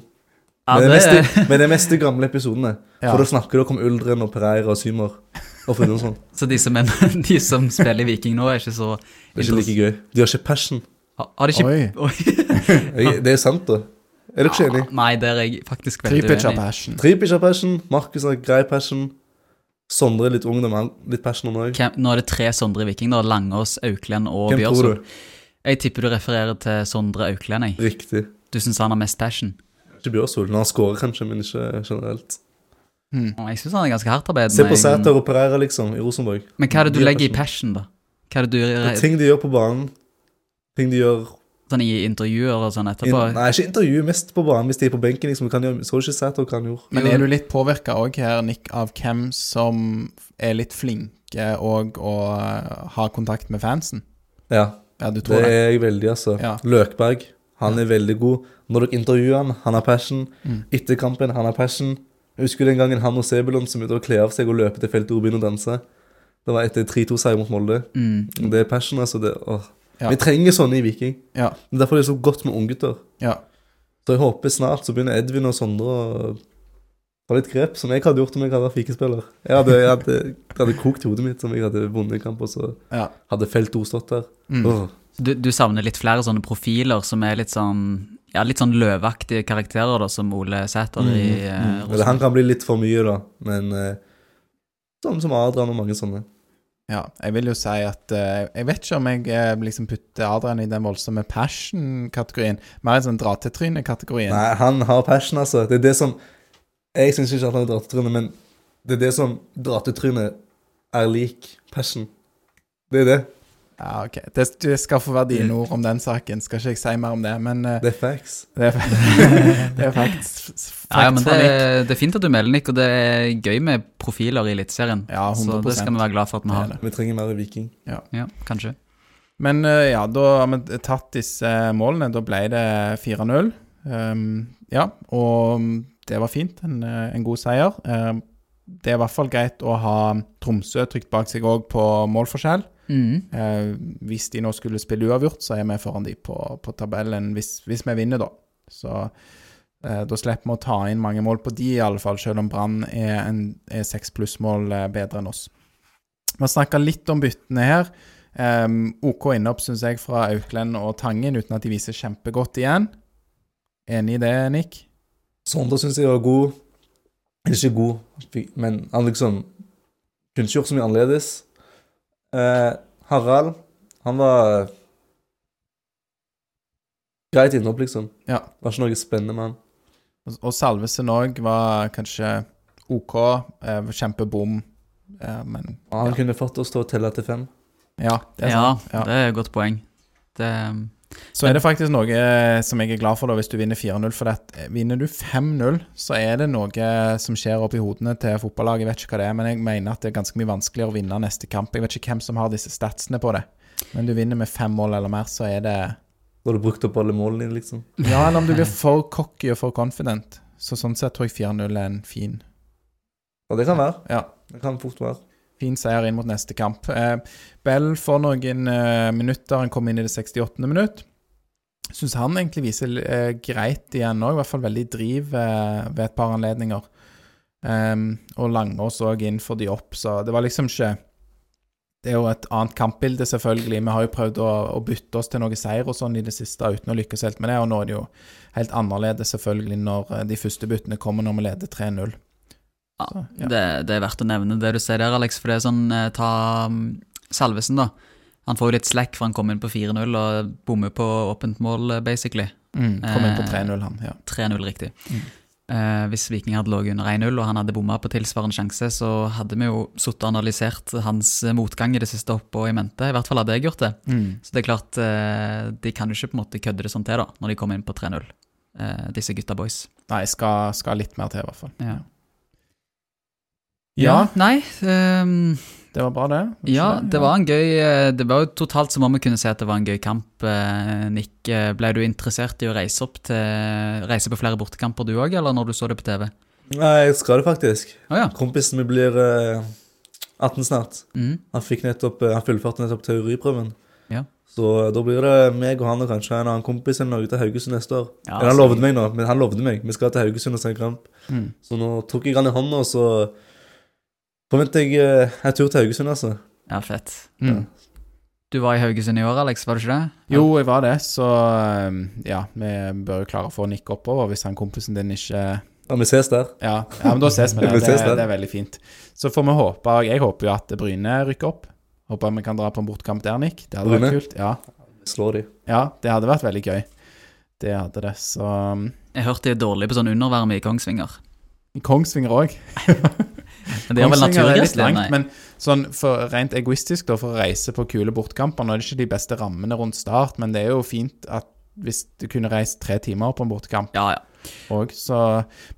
Speaker 2: Ja,
Speaker 3: Men det
Speaker 2: det,
Speaker 3: er mest de- men det er mest de gamle episodene.
Speaker 1: Ja.
Speaker 3: For da snakker dere om Uldren og Pereira og Symer. Og Frode og sånn.
Speaker 2: så de som, er- de som spiller Viking nå, er ikke så
Speaker 3: Det er ikke like gøy. De har ikke passion.
Speaker 2: Har- Har de ikke
Speaker 1: Oi.
Speaker 3: Jeg, det er sant, da. Er dere ikke
Speaker 2: Ja,
Speaker 3: enig?
Speaker 2: Nei, der er jeg faktisk veldig
Speaker 1: Tripic har
Speaker 2: uenig.
Speaker 1: passion.
Speaker 3: Tripic har passion. Markus har grei passion. Sondre er litt ung, men han- litt passion om òg.
Speaker 2: Hvem- Nå er det tre Sondre Viking, da. Langås, Auklend og
Speaker 3: Hvem tror
Speaker 2: Bjørsund.
Speaker 3: du?
Speaker 2: Jeg tipper du refererer til Sondre Auklend, jeg.
Speaker 3: Riktig.
Speaker 2: Du syns han har mest passion?
Speaker 3: Ikke Bjørsol. Når han scorer, kanskje, men ikke generelt.
Speaker 1: Hmm.
Speaker 2: Å, Jeg syns han er ganske hardtarbeidende.
Speaker 3: Se på
Speaker 2: jeg.
Speaker 3: Sæter og Pereira, liksom, i Rosenborg.
Speaker 2: Men hva er det du
Speaker 3: De har
Speaker 2: legger i passion, da? Hva er det du
Speaker 3: Det er ting de gjør på banen. Ting de gjør
Speaker 2: sånn i intervjuer og sånn etterpå?
Speaker 3: in, Nei, ikke intervju, mest på banen hvis de er på benken. liksom. Kan gjøre, så du ikke Sæter hva han gjorde?
Speaker 1: Men er du litt påvirka òg her, Nick, av hvem som er litt flinke og å ha kontakt med fansen?
Speaker 3: Ja,
Speaker 1: Ja, du
Speaker 3: det
Speaker 1: tror det?
Speaker 3: er jeg veldig, altså.
Speaker 1: Ja.
Speaker 3: Løkberg, han er veldig god. Når dere intervjuer han, han har passion.
Speaker 1: Mm.
Speaker 3: Etter kampen, han har passion. Jeg husker den gangen han og Sebulon som begynte å kle av seg og løpe til feltet og begynne å danse. Det var etter 3-2-seier mot Molde.
Speaker 2: Mm.
Speaker 3: Det er passion, altså. det, åh.
Speaker 1: Ja.
Speaker 3: Vi trenger sånne i Viking.
Speaker 1: Ja.
Speaker 3: Det er Derfor er det så godt med unggutter.
Speaker 1: ja.
Speaker 3: Så jeg håper snart så begynner Edvin og Sondre å ta litt grep, som jeg hadde gjort om jeg hadde vært fikespiller. Jeg hadde, jeg hadde, det hadde kokt i hodet mitt om jeg hadde vunnet en kamp, og så
Speaker 1: Ja.
Speaker 3: hadde felt O stått der.
Speaker 1: Mm.
Speaker 3: Åh,
Speaker 2: Du, du savner litt flere sånne profiler som er litt sånn ja, litt sånn løveaktige karakterer, da, som Ole Sæter i eh,
Speaker 3: Mm. Eller han
Speaker 2: Rosenborg.
Speaker 3: kan bli litt for mye, da, men eh, sånn som Adrian og mange sånne.
Speaker 1: Ja, jeg vil jo si at eh, Jeg vet ikke om jeg eh, liksom putter Adrian i den voldsomme passion-kategorien. Mer en sånn dra-til-trynet-kategorien.
Speaker 3: Nei, han har passion, altså. Det er det som Jeg syns ikke at han er dratetryne, men det er det som dratetryne er lik passion. Det er det.
Speaker 1: Ja, ok. Det, det skal få være dine ord om den saken. Skal ikke jeg si mer om det, men eh,
Speaker 3: Det er facts.
Speaker 1: det er, det er faktisk
Speaker 2: Ja, ja, men det,
Speaker 1: fra Nick.
Speaker 2: det er fint at du melder, Nick, og det er gøy med profiler i Eliteserien.
Speaker 1: Ja,
Speaker 2: så
Speaker 1: 100%.
Speaker 2: det skal vi være glad for at vi har.
Speaker 1: Det er
Speaker 3: Vi trenger mer Viking.
Speaker 2: Ja, kanskje.
Speaker 1: Men eh, ja, da har vi tatt disse eh, målene. Da ble det 4-0. Um, ja, og det var fint. En, eh, en god seier. Um, det er i hvert fall greit å ha Tromsø trygt bak seg òg på målforskjell.
Speaker 2: Mm.
Speaker 1: Eh, hvis de nå skulle spille uavgjort, så er vi foran de på, på tabellen hvis, hvis vi vinner, da. Så eh, da slipper vi å ta inn mange mål på de, i alle fall, selv om Brann er, en- er seks plussmål eh, bedre enn oss. Vi har snakka litt om byttene her. Eh, OK innhopp, syns jeg, fra Auklend og Tangen, uten at de viser kjempegodt igjen. Enig i det, Nick?
Speaker 3: Sondre syns jeg var god. Ikke god, fikk- men han liksom kunne ikke gjort så mye annerledes. Eh, Harald, han var eh, greit innhopp, liksom.
Speaker 1: Ja.
Speaker 3: Var ikke noe spennende med han.
Speaker 1: Og, og Salvesen òg var kanskje OK. Eh, kjempebom, eh, men
Speaker 3: Og Han
Speaker 1: Ja.
Speaker 3: kunne fått oss til å telle til fem.
Speaker 1: ja, det er sant.
Speaker 2: Ja,
Speaker 1: Ja.
Speaker 2: det er et godt poeng. Det,
Speaker 1: Så er det faktisk noe eh, som jeg er glad for da, hvis du vinner 4-0. For at eh, vinner du 5-0, så er det noe som skjer oppi hodene til fotballaget. Jeg vet ikke hva det er, men jeg mener at det er ganske mye vanskeligere å vinne neste kamp. Jeg vet ikke hvem som har disse statsene på det. Men du vinner med fem mål eller mer, så er det
Speaker 3: Da har du brukt opp alle målene dine, liksom.
Speaker 1: Ja, eller om du blir for cocky og for confident. Så sånn sett tror jeg 4-0 er en fin
Speaker 3: Ja, det kan være.
Speaker 1: Ja.
Speaker 3: Det kan fort være.
Speaker 1: Fin seier inn mot neste kamp. Eh, Bell får noen eh, minutter. Han kom inn i det 68. minutt. Syns han egentlig viser eh, greit igjen òg, i hvert fall veldig driv eh, ved et par anledninger. Ehm, og Langås òg inn for de opp, så det var liksom ikke Det er jo et annet kampbilde, selvfølgelig. Vi har jo prøvd å, å bytte oss til noe seier og sånn i det siste uten å lykkes helt med det, og nå er det jo helt annerledes, selvfølgelig, når eh, de første byttene kommer når vi leder 3-0.
Speaker 2: Ja,
Speaker 1: Så, ja.
Speaker 2: Det, det er verdt å nevne det du sier der, Alex. For det er sånn, eh, ta mm, Salvesen, da. Han får jo litt slack, for han kom inn på 4-0 og bommer på åpent mål, eh, basically.
Speaker 1: Mm, kom inn på
Speaker 2: Eh,
Speaker 1: 3-0, han. ja.
Speaker 2: 3-0 riktig.
Speaker 1: Mm.
Speaker 2: Eh, hvis Viking hadde ligget under 1-0 og han hadde bomma på tilsvarende sjanse, så hadde vi jo sittet og analysert hans eh, motgang i det siste opp og i mente. I hvert fall hadde jeg gjort det.
Speaker 1: Mm.
Speaker 2: Så det er klart, eh, de kan jo ikke på en måte kødde det sånn til da, når de kommer inn på 3-0, eh, disse gutta boys.
Speaker 1: Nei, skal, skal litt mer til, i hvert fall.
Speaker 2: Ja.
Speaker 1: Ja,
Speaker 2: Nei, ehm,
Speaker 1: det var bra, det. Var ikke
Speaker 2: ja, det var en gøy eh, Det var jo totalt så må vi kunne si at det var en gøy kamp. eh, Nick, eh, ble du interessert i å reise opp til Reise på flere bortekamper du òg, eller når du så det på TV?
Speaker 3: Nei, jeg skal det faktisk.
Speaker 2: Å ja.
Speaker 3: Kompisen min blir eh, 18 snart.
Speaker 2: Mm.
Speaker 3: Han, fikk nettopp, eh, han fullførte nettopp teoriprøven.
Speaker 2: Ja.
Speaker 3: Så eh, da blir det meg og han og kanskje en annen kompis eller noe til Haugesund neste år.
Speaker 2: Ja,
Speaker 3: Eller han
Speaker 2: Ah, så-
Speaker 3: lovde meg nå, men han lovde meg. Vi skal til Haugesund og se en kamp.
Speaker 1: Mm.
Speaker 3: Så nå tok jeg han i hånda, og så forventer jeg eh, en tur til Haugesund, altså.
Speaker 2: ja, fett.
Speaker 1: Mm.
Speaker 2: Du var i Haugesund i år, Alex, var du ikke det?
Speaker 1: Jo, jeg var det, så um, ja, vi bør jo klare å få Nick oppover hvis han kompisen din ikke
Speaker 3: Ja, vi ses der.
Speaker 1: Ja, ja men da ses vi der.
Speaker 3: Vi
Speaker 1: Det,
Speaker 3: ses der.
Speaker 1: det er veldig fint. Så får vi håpe og Jeg håper jo at Bryne rykker opp. Håper vi kan dra på en bortkamp der, Nick. Det hadde
Speaker 3: Bryne?
Speaker 1: vært kult. Ja.
Speaker 3: Slår de.
Speaker 1: ja, det hadde vært veldig gøy. Det hadde det. Så um,
Speaker 2: Jeg hørte de er dårlige på sånn undervarme i Kongsvinger.
Speaker 1: Kongsvinger òg.
Speaker 2: Men det er vel
Speaker 1: Kongsvinger er litt
Speaker 2: naturgass, det?
Speaker 1: langt,
Speaker 2: Nei.
Speaker 1: men sånn for rent egoistisk da, for å reise på kule bortkamper Nå er det ikke de beste rammene rundt start, men det er jo fint at hvis du kunne reist tre timer på en bortekamp
Speaker 2: Ja, ja.
Speaker 1: òg, så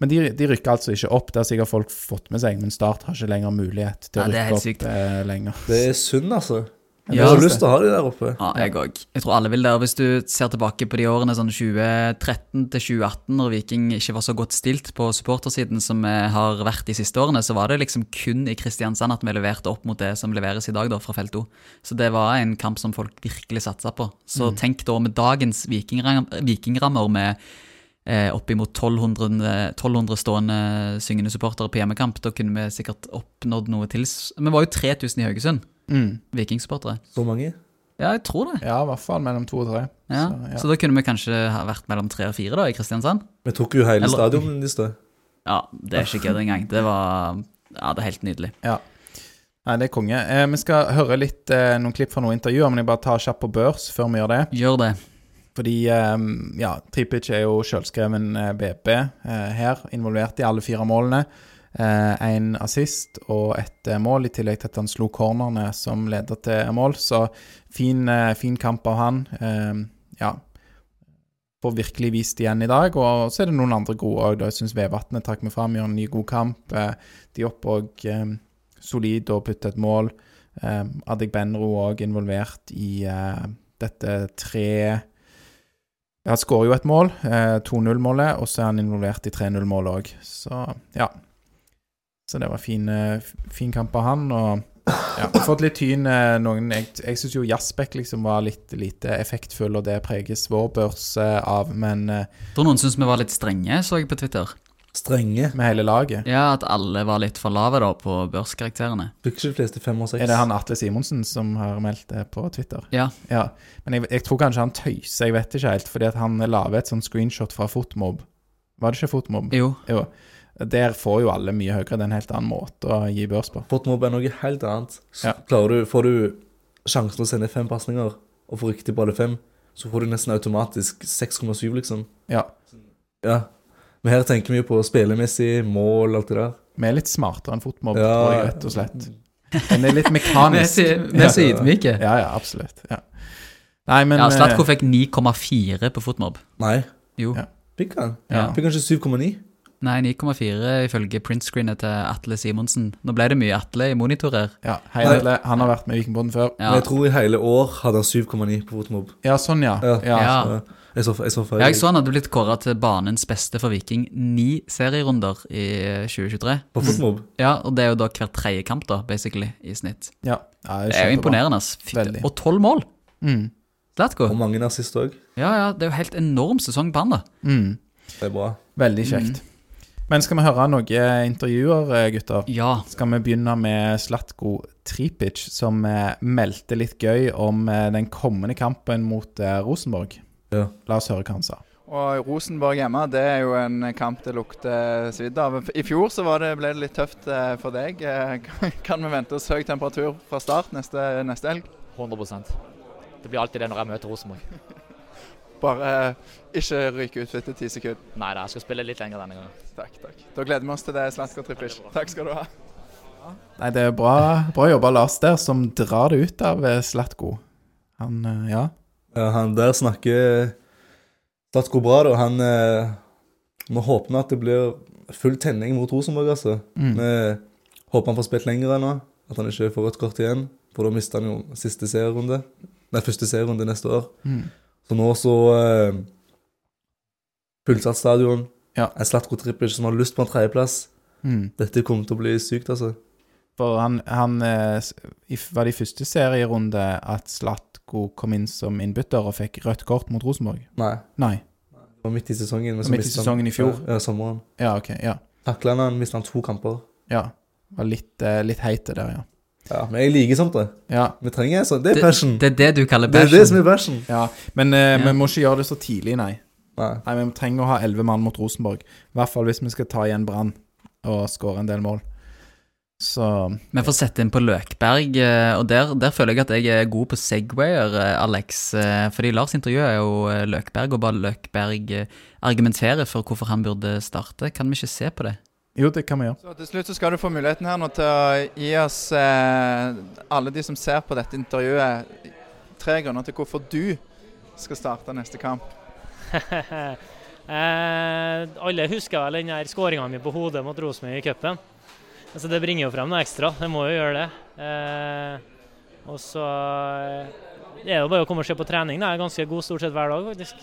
Speaker 1: Men de, de rykker altså ikke opp. Det har sikkert folk fått med seg, men Start har ikke lenger mulighet til å
Speaker 2: Nei, det
Speaker 1: rykke
Speaker 2: er helt
Speaker 1: opp
Speaker 2: sykt.
Speaker 1: eh, lenger.
Speaker 3: Det er synd, altså. Jeg
Speaker 2: Ja.
Speaker 3: har lyst til å ha de der oppe.
Speaker 2: ja jeg òg. Jeg tror alle vil det. Og hvis du ser tilbake på de årene sånn 2013 til 2018, når Viking ikke var så godt stilt på supportersiden som eh, har vært de siste årene, så var det liksom kun i Kristiansand at vi leverte opp mot det som leveres i dag da, fra felt O. Så det var en kamp som folk virkelig satsa på. Så tenk da med dagens vikingram- vikingrammer med eh, oppimot 1200, 1200 stående syngende supportere på hjemmekamp, da kunne vi sikkert oppnådd noe til. Vi var jo 3000 i Haugesund,
Speaker 1: Mm.
Speaker 2: vikingsupportere.
Speaker 3: Så mange.
Speaker 2: Ja, jeg tror det.
Speaker 1: Ja, i hvert fall mellom to og tre.
Speaker 2: Ja.
Speaker 1: Så, ja.
Speaker 2: Så da kunne vi kanskje ha vært mellom tre og fire da, i Kristiansand?
Speaker 3: Vi tok jo hele
Speaker 2: Eller-
Speaker 3: stadionet i sted.
Speaker 2: Ja, det er ikke kødd engang. Det var ja, det er helt nydelig.
Speaker 1: Nei, det er konge. Eh, vi skal høre litt eh, noen klipp fra noen intervjuer, men jeg bare tar kjapt på børs før vi gjør det.
Speaker 2: Gjør det.
Speaker 1: Fordi ehm, ja, Tripic er jo selvskreven eh, BB eh, her, involvert i alle fire målene. Én assist og ett eh, mål, i tillegg til at han slo cornerne som leder til mål. Så fin, eh, fin kamp av han. Ehm, ja. Får virkelig vist igjen i dag. Og så er det noen andre gode òg. Jeg syns Vevatnet trakk meg fram, gjør en ny god kamp. Eh, de opp og ehm, solid og putte et mål. Um, Adek Benro òg involvert i eh, dette tre ja, Han skårer jo et mål, eh, 2-0-målet, og så er han involvert i 3-0-målet òg. Så ja. Så det var fin, eh, f- fin kamp av han. Og ja, har fått litt tyn eh, noen Jeg, jeg syns jo Jasbekk liksom var litt lite effektfull, og det preges vår børs eh, av, men eh,
Speaker 2: Jeg tror noen syns vi var litt strenge, så jeg på Twitter.
Speaker 3: Strenge.
Speaker 1: med hele laget.
Speaker 2: Ja, At alle var litt for lave da på børskarakterene.
Speaker 3: Fikk ikke de fleste fem og seks.
Speaker 1: Er det han Atle Simonsen som har meldt det på Twitter?
Speaker 2: Ja.
Speaker 1: ja. Men jeg, jeg tror kanskje han tøyser, jeg vet ikke helt, fordi at han lager et sånt screenshot fra Fotmob. Var det ikke Fotmob?
Speaker 2: Jo.
Speaker 1: Jo. Der får jo alle mye høyere. Det er en helt annen måte å gi børs på.
Speaker 3: Fotmob er noe helt annet. Så
Speaker 1: Ja.
Speaker 3: klarer du, Får du sjansen til å sende fem pasninger, og får riktig på alle fem, så får du nesten automatisk 6,7, liksom.
Speaker 1: Ja.
Speaker 3: Ja. Men her tenker vi jo på spillemessig, mål, alt det der.
Speaker 1: Vi er litt smartere enn fotmobb,
Speaker 3: Ja.
Speaker 1: tror jeg, rett og slett. Men det er litt
Speaker 2: Vi er
Speaker 1: mekanisk.
Speaker 2: så- vi er så ydmyke.
Speaker 1: Ja, ja, absolutt. Ja. Nei, men
Speaker 2: Ja, Slatko
Speaker 1: eh,
Speaker 2: fikk 9,4 på fotmobb.
Speaker 3: Nei,
Speaker 2: Jo.
Speaker 1: Ja.
Speaker 3: fikk han?
Speaker 2: Ja.
Speaker 3: Fikk han ikke 7,9?
Speaker 2: Nei, 9,4 ifølge printscreenet til Atle Simonsen. Nå ble det mye Atle i monitorer.
Speaker 1: eh, Ja, Hei, Atle. Han har vært med Vikingpodden før.
Speaker 2: Ja.
Speaker 3: Men jeg tror i hele år hadde han 7,9 på fotmobb.
Speaker 1: Ja, sånn, ja.
Speaker 3: Ja.
Speaker 1: ja.
Speaker 2: Ja.
Speaker 3: Ja. Jeg så, jeg så feil.
Speaker 2: Ja, jeg så han hadde blitt kåra til banens beste for Viking ni serierunder i 2023.
Speaker 3: På fotmobb.
Speaker 2: Ja, og det er jo da hver tredje kamp, da, basically, i snitt.
Speaker 1: ja. ja
Speaker 2: Det er jo
Speaker 1: kjempebra.
Speaker 2: imponerende. ass. Fy-
Speaker 1: Veldig.
Speaker 2: Og tolv mål!
Speaker 1: Mm.
Speaker 2: Zlatko.
Speaker 3: Og mange nazist òg.
Speaker 2: Ja, ja, det er jo helt enorm sesong på han, da.
Speaker 1: Mm.
Speaker 3: Det er bra.
Speaker 1: Veldig
Speaker 2: Mm.
Speaker 1: kjekt. Men skal vi høre noen intervjuer, eh, gutter?
Speaker 2: Ja.
Speaker 1: Skal vi begynne med Slatko Tripic, som eh, meldte litt gøy om eh, den kommende kampen mot eh, Rosenborg.
Speaker 3: Ja.
Speaker 1: La oss høre hva han sa.
Speaker 5: Og Rosenborg hjemme, det er jo en kamp det lukter svidd av. I fjor så var det, ble det litt tøft eh, for deg. Eh, Kan vi vente oss høy temperatur fra start neste, neste helg?
Speaker 6: 100 Det blir alltid det når jeg møter Rosenborg.
Speaker 5: Bare eh, ikke ryke ut etter ti sekunder.
Speaker 6: Nei da, jeg skal spille litt lenger denne gangen.
Speaker 5: Takk, takk. Da gleder vi oss til det, Slatko Triplic. Takk skal du ha.
Speaker 1: Nei, det er bra, bra jobba, Lars, der, som drar det ut av eh, Slatko. Han, eh, ja.
Speaker 3: Ja, han der snakker eh, Statko bra, da. Han eh, Nå håper vi at det blir full tenning mot Rosenborg, altså.
Speaker 1: Mm.
Speaker 3: Vi håper han får spilt lenger ennå. At han ikke får rødt kort igjen. For da mister han jo siste serierunde. Nei, første serierunde neste år.
Speaker 1: Mm.
Speaker 3: Så nå så eh, Fullsatt stadion.
Speaker 1: Ja.
Speaker 3: En Slatko Tripic som har lyst på en tredjeplass.
Speaker 1: Mm.
Speaker 3: Dette kommer til å bli sykt, altså.
Speaker 1: For han, han eh, s- i f- var det i første serierunde at Slatko kom inn som innbytter og fikk rødt kort mot Rosenborg?
Speaker 3: Nei.
Speaker 1: Nei.
Speaker 3: Det var midt i sesongen. men så
Speaker 1: Midt i
Speaker 3: mistet han-
Speaker 1: sesongen i fjor.
Speaker 3: Ja, sommeren.
Speaker 1: Ja, OK. Ja.
Speaker 3: Takla han, mista han to kamper.
Speaker 1: ja. Var litt, eh, litt heit det der, ja.
Speaker 3: Ja, Men jeg liker sånt, det.
Speaker 1: ja.
Speaker 3: Vi trenger sånn. Det
Speaker 2: Det,
Speaker 3: er passion.
Speaker 2: det er det du kaller
Speaker 3: Det er
Speaker 2: passion.
Speaker 3: det som er versen.
Speaker 1: Ja, men eh,
Speaker 2: Ja.
Speaker 1: vi må ikke gjøre det så tidlig, nei.
Speaker 3: Nei.
Speaker 1: Nei, Vi trenger å ha elleve mann mot Rosenborg. I hvert fall hvis vi skal ta igjen Brann og skåre en del mål. Så
Speaker 2: Vi får sette inn på Løkberg, eh, og der, der føler jeg at jeg er god på Segwayer, eh, Alex. eh, Fordi Lars intervjuet er jo eh, Løkberg, og bare Løkberg eh, argumenterer for hvorfor han burde starte. Kan vi ikke se på det?
Speaker 1: jo, det kan vi gjøre.
Speaker 5: Så til slutt så skal du få muligheten her nå til å gi oss, eh, alle de som ser på dette intervjuet, tre grunner til hvorfor du skal starte neste kamp.
Speaker 6: eh, alle husker vel den der skåringa mi på hodet mot Rosenborg i cupen. Altså, det bringer jo frem noe ekstra. Det må jo gjøre det. Eh, og så eh, det er det jo bare å komme og se på trening. da. Jeg er ganske god stort sett hver dag, faktisk.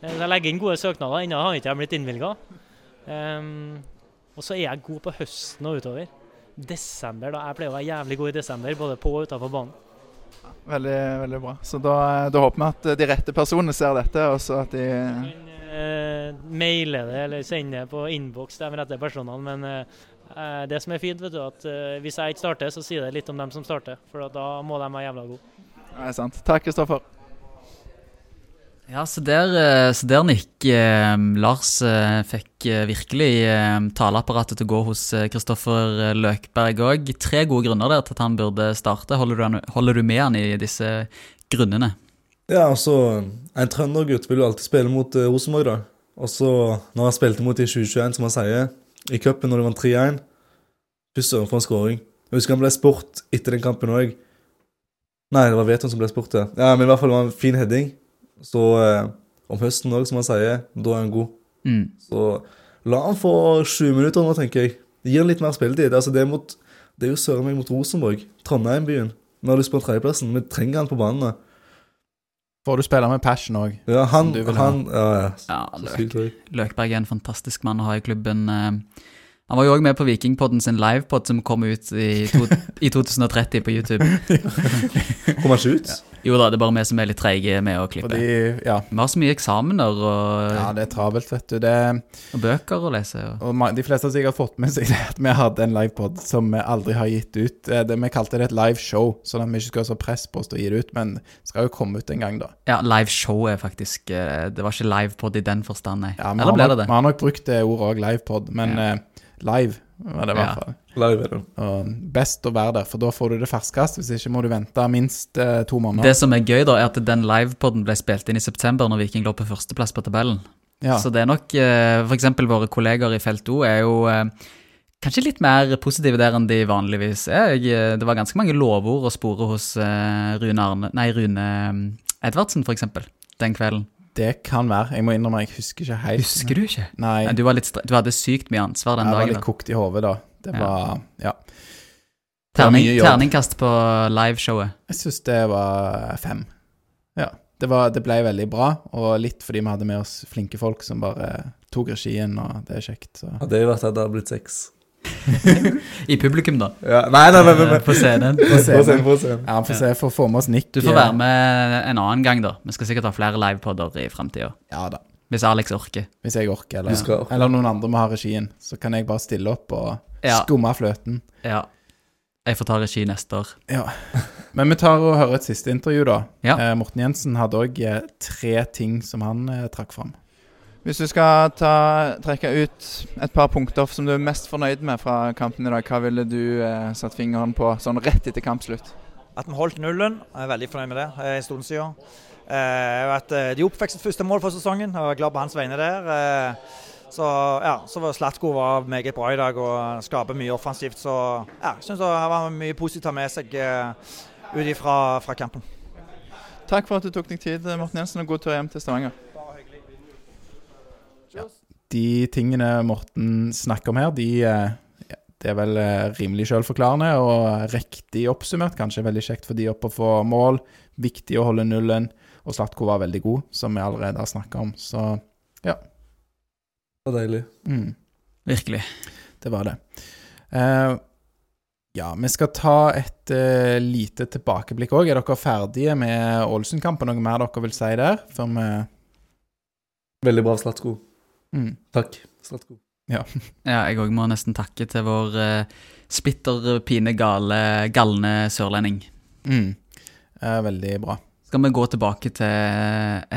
Speaker 6: Eh, så Jeg legger inn gode søknader. Ennå har ikke jeg blitt innvilga. og så er jeg god på høsten og utover. Desember, da. Jeg pleier å være jævlig god i desember, både på og utafor banen.
Speaker 5: Veldig, veldig bra. Så da, da håper vi at de rette personene ser dette, og så at de
Speaker 6: kan eh, maile det eller sende det på innboks til de rette personene, men eh, eh, det som er fint, vet du, at eh, hvis jeg ikke starter, så sier det litt om dem som starter, for at da må de være jævla gode.
Speaker 5: Nei, sant. Takk, Kristoffer.
Speaker 2: Ja, så der, eh, så der Nick. eh, Lars eh, fikk eh, virkelig eh, taleapparatet til å gå hos eh, Kristoffer eh, Løkberg òg. Tre gode grunner der til at han burde starte. Holder du, han- holder du med han i disse grunnene?
Speaker 3: Ja, altså, en trøndergutt vil jo alltid spille mot eh, Rosenborg, da. Og så, når han spilte mot i 2021, som han sier, i cupen når de vant 3-1 Fy søren, for en skåring. Jeg husker han ble spurt etter den kampen òg. Nei, det var Veton som ble spurt, ja. ja. Men i hvert fall var det en fin heading. Så eh, om høsten òg, som han sier, da er han god.
Speaker 2: Mm.
Speaker 3: Så la han få sju minutter nå, tenker jeg. Gi han litt mer spilletid. Altså, det, er mot, det er jo søren meg mot Rosenborg. Trondheim-byen. Vi har lyst på tredjeplassen. Vi trenger han på banen. da.
Speaker 1: Får du spille med passion òg.
Speaker 3: Ja, han,
Speaker 1: du vil ha.
Speaker 3: han ja, ja.
Speaker 2: Ja,
Speaker 3: Så
Speaker 2: Løk.
Speaker 3: sykt høy.
Speaker 2: Løkberg er en fantastisk mann å ha i klubben. Eh, Han var jo òg med på Vikingpodden sin livepod som kom ut i, to, i 2030 på YouTube.
Speaker 3: Kom han ikke ut?
Speaker 2: Jo da, det er bare vi som er litt treige med å klippe.
Speaker 1: Fordi, ja.
Speaker 2: Vi har så mye eksamener og,
Speaker 1: ja, det er travelt, vet du. Det,
Speaker 2: og bøker å lese. Og.
Speaker 1: og ma- de fleste har sikkert fått med seg det at vi hadde en livepod som vi aldri har gitt ut. Eh, Det, vi kalte det et liveshow, sånn at vi ikke skulle ha så press på oss til å gi det ut. Men det skal jo komme ut en gang, da.
Speaker 2: Ja, liveshow er faktisk eh, Det var ikke livepod i den forstand, nei.
Speaker 1: Ja, vi
Speaker 2: Eller
Speaker 1: har
Speaker 2: ble
Speaker 1: nok-
Speaker 2: det
Speaker 1: Vi
Speaker 2: det?
Speaker 1: har nok brukt det ordet òg, livepod, men
Speaker 2: Ja.
Speaker 1: eh, live var det i
Speaker 2: Ja.
Speaker 1: hvert fall.
Speaker 3: Live er det.
Speaker 1: Og best å være der, for da får du det ferskest. Hvis ikke må du vente minst eh, to måneder.
Speaker 2: Det som er gøy, da, er at den livepoden ble spilt inn i september, når Viking lå på førsteplass på tabellen.
Speaker 1: ja.
Speaker 2: Så det er nok eh, For eksempel våre kolleger i felt O er jo eh, kanskje litt mer positive der enn de vanligvis er. Jeg, eh, det var ganske mange mm, lovord å spore hos eh, Rune Arne Nei, Rune eh, Edvardsen, for eksempel, den kvelden.
Speaker 1: Det kan være. Jeg må innrømme, jeg husker ikke helt.
Speaker 2: Husker du ikke?
Speaker 1: Nei,
Speaker 2: Nei, Du, var litt stre du hadde sykt mye ansvar den
Speaker 1: jeg var
Speaker 2: dagen.
Speaker 1: litt
Speaker 2: da.
Speaker 1: kokt i hodet da. Det
Speaker 2: Ja.
Speaker 1: var Ja. det var
Speaker 2: Terning,
Speaker 1: mye jobb.
Speaker 2: terningkast på liveshowet.
Speaker 1: Jeg syns det var fem. Ja. Det, var, det ble veldig bra, og litt fordi vi hadde med oss flinke folk som bare tok regien, og det er kjekt. Så.
Speaker 3: Hadde jeg vært der, det hadde blitt seks.
Speaker 2: I publikum, da.
Speaker 3: Ja, nei, nei, nei, nei,
Speaker 2: eh, På
Speaker 3: nei.
Speaker 2: scenen.
Speaker 1: På
Speaker 3: Få se,
Speaker 1: scenen.
Speaker 3: få se.
Speaker 1: Ja, for, se, for å få med oss Nick
Speaker 2: Du får
Speaker 1: eh,
Speaker 2: være med en annen gang, da. Vi skal sikkert ha flere livepodder i framtida.
Speaker 1: Ja da.
Speaker 2: Hvis Alex orker.
Speaker 1: Hvis jeg orker,
Speaker 3: Du skal
Speaker 1: eller,
Speaker 3: orke.
Speaker 1: eller noen andre må ha regien, så kan jeg bare stille opp og
Speaker 2: Ja.
Speaker 1: skumme fløten.
Speaker 2: ja. Jeg får ta regi neste år.
Speaker 1: Men vi tar og hører et siste intervju, da.
Speaker 2: Ja.
Speaker 1: Eh, Morten Jensen hadde òg eh, tre ting som han eh, trakk fram.
Speaker 5: Hvis du skal ta, trekke ut et par punkter som du er mest fornøyd med fra kampen i dag, hva ville du eh, satt fingeren på sånn rett etter kampslutt?
Speaker 7: At vi holdt nullen, jeg er veldig fornøyd med det. Det er en stund siden. Eh, og at eh, de oppfikk sitt første mål for sesongen, og jeg er glad på hans vegne der. Eh, så ja, så var Slatko var meget bra i dag og skaper mye offensivt. Så ja, jeg syns det var mye positivt å ta med seg eh, ut ifra fra kampen.
Speaker 5: Takk for at du tok deg tid, Morten Jensen, og god tur hjem til Stavanger.
Speaker 1: De tingene Morten snakker om her, de eh, ja, det er vel eh, rimelig selvforklarende og riktig oppsummert. Kanskje veldig kjekt for de oppe å få mål. Viktig å holde nullen. Og Slatko var veldig god, som vi allerede har snakka om. Så
Speaker 3: Det var deilig.
Speaker 1: mm.
Speaker 2: Virkelig.
Speaker 1: Det var det. Eh, ja, vi skal ta et eh, lite tilbakeblikk òg. Er dere ferdige med Ålesund-kampen? Noe mer dere vil si der? Før vi
Speaker 3: Veldig bra av Slatko.
Speaker 1: mm.
Speaker 3: Takk, Slatko.
Speaker 2: Ja, jeg òg må nesten takke til vår eh, splitter pine gale, galne sørlending.
Speaker 1: Mm. Eh, veldig bra.
Speaker 2: Skal vi gå tilbake til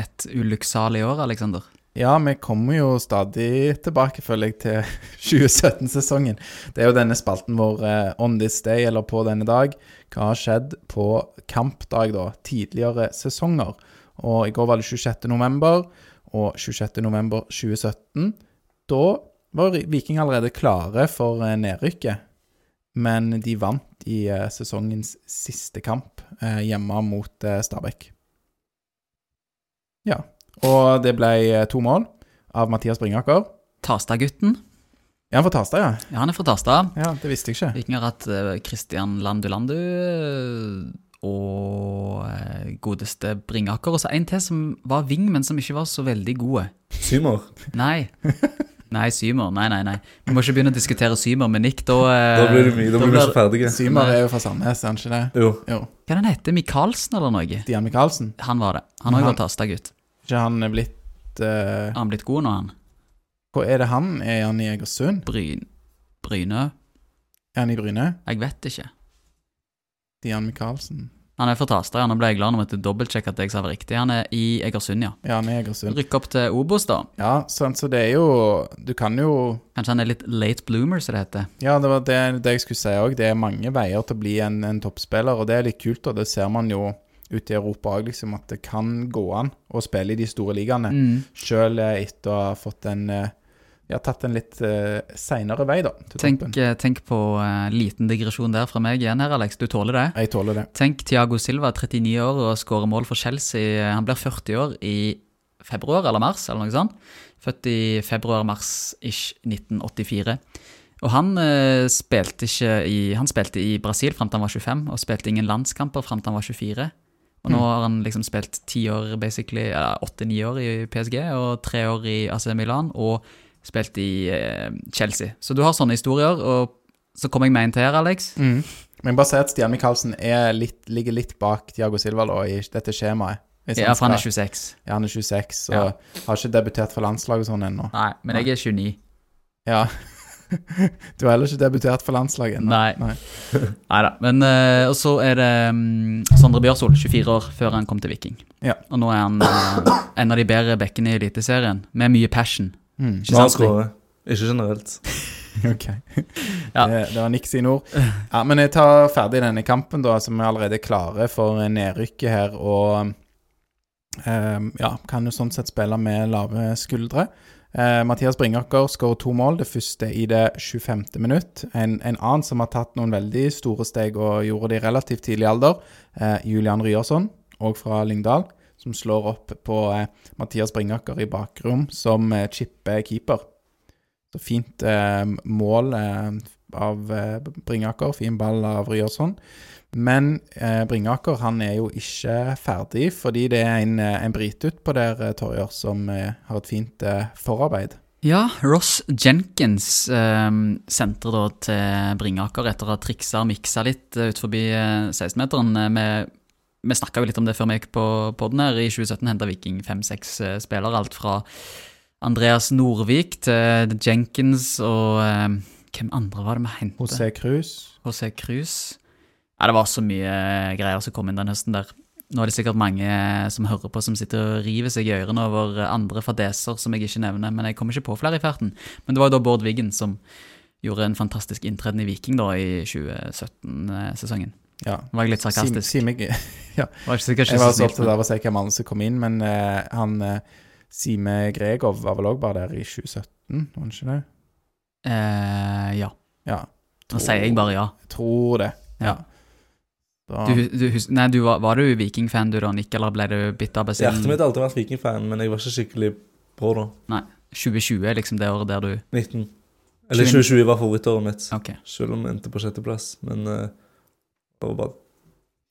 Speaker 2: et ulykksalig år, Aleksander?
Speaker 1: Ja, vi kommer jo stadig tilbake, føler jeg, til 2017-sesongen. Det er jo denne spalten vår eh, On this day, eller På denne dag. Hva har skjedd på kampdag, da? Tidligere sesonger. Og i går var det 26. november, og 26. november 2017 Da var Viking allerede klare for eh, nedrykket. Men de vant i eh, sesongens siste kamp eh, hjemme mot eh, Stabæk. Ja. Og det ble eh, to mål av Mathias Bringaker.
Speaker 2: Tasta-gutten.
Speaker 1: Ja, han får Tasta, ja.
Speaker 2: Ja, han er fra Tasta.
Speaker 1: ja. Det visste jeg ikke.
Speaker 2: Viking har hatt eh, Christian Landulandu eh, og eh, godeste Bringaker. Og så en til som var wing, men som ikke var så veldig gode.
Speaker 3: Symer.
Speaker 2: Nei. Nei, Symer. Nei, nei, nei. Vi må ikke begynne å diskutere Symer med Nick, da. eh,
Speaker 3: Da blir det mye. Da blir vi
Speaker 2: blir-
Speaker 3: ikke ferdige.
Speaker 1: Symer er jo fra Sandnes, er han ikke det?
Speaker 3: Jo.
Speaker 1: Jo.
Speaker 2: Hva er det han heter? Michaelsen eller noe?
Speaker 1: Stian Michaelsen.
Speaker 2: Han var det. Han har jo
Speaker 1: Han-
Speaker 2: vært Tasta-gutt.
Speaker 1: Ikke han er blitt eh,
Speaker 2: Har han blitt god nå, han?
Speaker 1: Hvor er det han? Er han i Egersund?
Speaker 2: Bryn... Bryne?
Speaker 1: Er han i Bryne?
Speaker 2: Jeg vet ikke.
Speaker 1: Stian Michaelsen.
Speaker 2: Han er fra Tasta, ja. Nå ble jeg glad når jeg dobbeltsjekket at jeg sa det riktig. Han er i Egersund, ja.
Speaker 1: Ja, han er i Egersund.
Speaker 2: Rykke opp til Obos, da.
Speaker 1: Ja, sant, så det er jo Du kan jo
Speaker 2: Kanskje han er litt late bloomer, som det heter.
Speaker 1: Ja, det var det, det jeg skulle si òg. Det er mange veier til å bli en, en toppspiller, og det er litt kult. Og det ser man jo ute i Europa òg, liksom, at det kan gå an å spille i de store ligaene.
Speaker 2: Mm.
Speaker 1: sjøl etter å ha fått en eh, Ja, tatt en litt uh, seinere vei, da. Til
Speaker 2: Tenk,
Speaker 1: toppen.
Speaker 2: eh, tenk på eh, liten digresjon der fra meg igjen her, Alex. Du tåler det?
Speaker 1: Jeg tåler det.
Speaker 2: Tenk Tiago Silva, 39 år, og skårer mål for Chelsea. Han blir 40 år i februar eller mars, eller noe sånt. Født i februar-mars-ish 1984. Og han, eh, spilte ikke i, han spilte i Brasil fram til han var 25, og spilte ingen landskamper fram til han var 24. Og nå har han liksom spilt ti år, basically, eller åtte-ni år i PSG, og tre år i AC Milan, og spilt i eh, Chelsea. Så du har sånne historier, og så kommer jeg med en til her, Alex.
Speaker 1: Mm. Men bare si at Stian Michaelsen er litt, ligger litt bak Diago Silva da, i dette skjemaet. Hvis
Speaker 2: Ja, for han er
Speaker 1: skal-
Speaker 2: 26.
Speaker 1: ja, han er 26 og
Speaker 2: Ja.
Speaker 1: har ikke debutert for landslaget og sånn ennå.
Speaker 2: Nei, men jeg er 29.
Speaker 1: Ja. du har heller ikke debutert for landslaget ennå.
Speaker 2: Nei. Neida. Men, eh, og så er det mm, Sondre Bjørsol, 24 år, før han kom til Viking.
Speaker 1: Ja.
Speaker 2: Og nå er han eh, en av de bedre bekkene i Eliteserien, med mye passion.
Speaker 1: Mm,
Speaker 2: Ikke
Speaker 3: Nå har
Speaker 2: sant?
Speaker 3: han
Speaker 2: Stig?
Speaker 3: skåret. Ikke generelt.
Speaker 1: ok.
Speaker 2: Ja.
Speaker 1: Det, det var Nick sine ord. Ja, men jeg tar ferdig denne kampen, da, som er allerede klare for nedrykket her. Og ehm, ja, kan jo sånn sett spille med lave skuldre. Eh, Mathias Bringaker skårer to mål, det første i det 25. minutt. En, en annen som har tatt noen veldig store steg og gjorde det i relativt tidlig alder, eh, Julian Ryerson, òg fra Lyngdal, som slår opp på eh, Mathias Bringaker i bakrom, som eh, chipper keeper. Så fint eh, mål eh, av eh, Bringaker, fin ball av Ryerson. Men eh, Bringaker han er jo ikke ferdig, fordi det er en, eh, en brit utpå der, eh, Torjer, som eh, har et fint eh, forarbeid.
Speaker 2: Ja, Ross Jenkins eh, sentrer da til Bringaker etter å ha triksa og miksa litt eh, ut forbi eh, 16-meteren. Eh, med- Vi snakka jo litt om det før vi gikk på podden her. I 2017 henta Viking fem-seks eh, spillere. Alt fra Andreas Norvik til Jenkins og eh, Hvem andre var det vi hentet?
Speaker 1: José Cruz.
Speaker 2: José Cruz. Ja, det var så mye eh, greier som kom inn den høsten der. Nå er det sikkert mange eh, som hører på, som sitter og river seg i ørene over eh, andre fadeser som jeg ikke nevner, men jeg kommer ikke på flere i ferten. Men det var jo da Bård Wiggen som gjorde en fantastisk inntreden i Viking da i 2017-sesongen.
Speaker 1: Ja.
Speaker 2: Var jeg litt sarkastisk?
Speaker 1: Sim, Simek-
Speaker 2: Var ikke sikkert
Speaker 1: Jeg
Speaker 2: ikke
Speaker 1: var
Speaker 2: så
Speaker 1: så
Speaker 2: snilt,
Speaker 1: opptatt
Speaker 2: men-
Speaker 1: av å se hvem andre som kom inn, men eh, han eh, Sime Gregov var vel òg bare der i 2017, var han ikke det?
Speaker 2: Eh, ja.
Speaker 1: Ja.
Speaker 2: Nå sier jeg bare ja.
Speaker 1: Tror det.
Speaker 2: Ja.
Speaker 1: Da,
Speaker 2: Du, du, hus- nei, du var, var du Viking-fan du da, Nick, eller ble du bitt av basillen?
Speaker 3: Hjertet mitt har alltid vært Viking-fan, men jeg var ikke skikkelig bra da.
Speaker 2: 2020 er liksom det året der du
Speaker 3: 19. Eller
Speaker 2: 20.
Speaker 3: 2020 var favorittåret mitt,
Speaker 2: Ok.
Speaker 3: selv om jeg endte på sjetteplass. Men eh, det var bare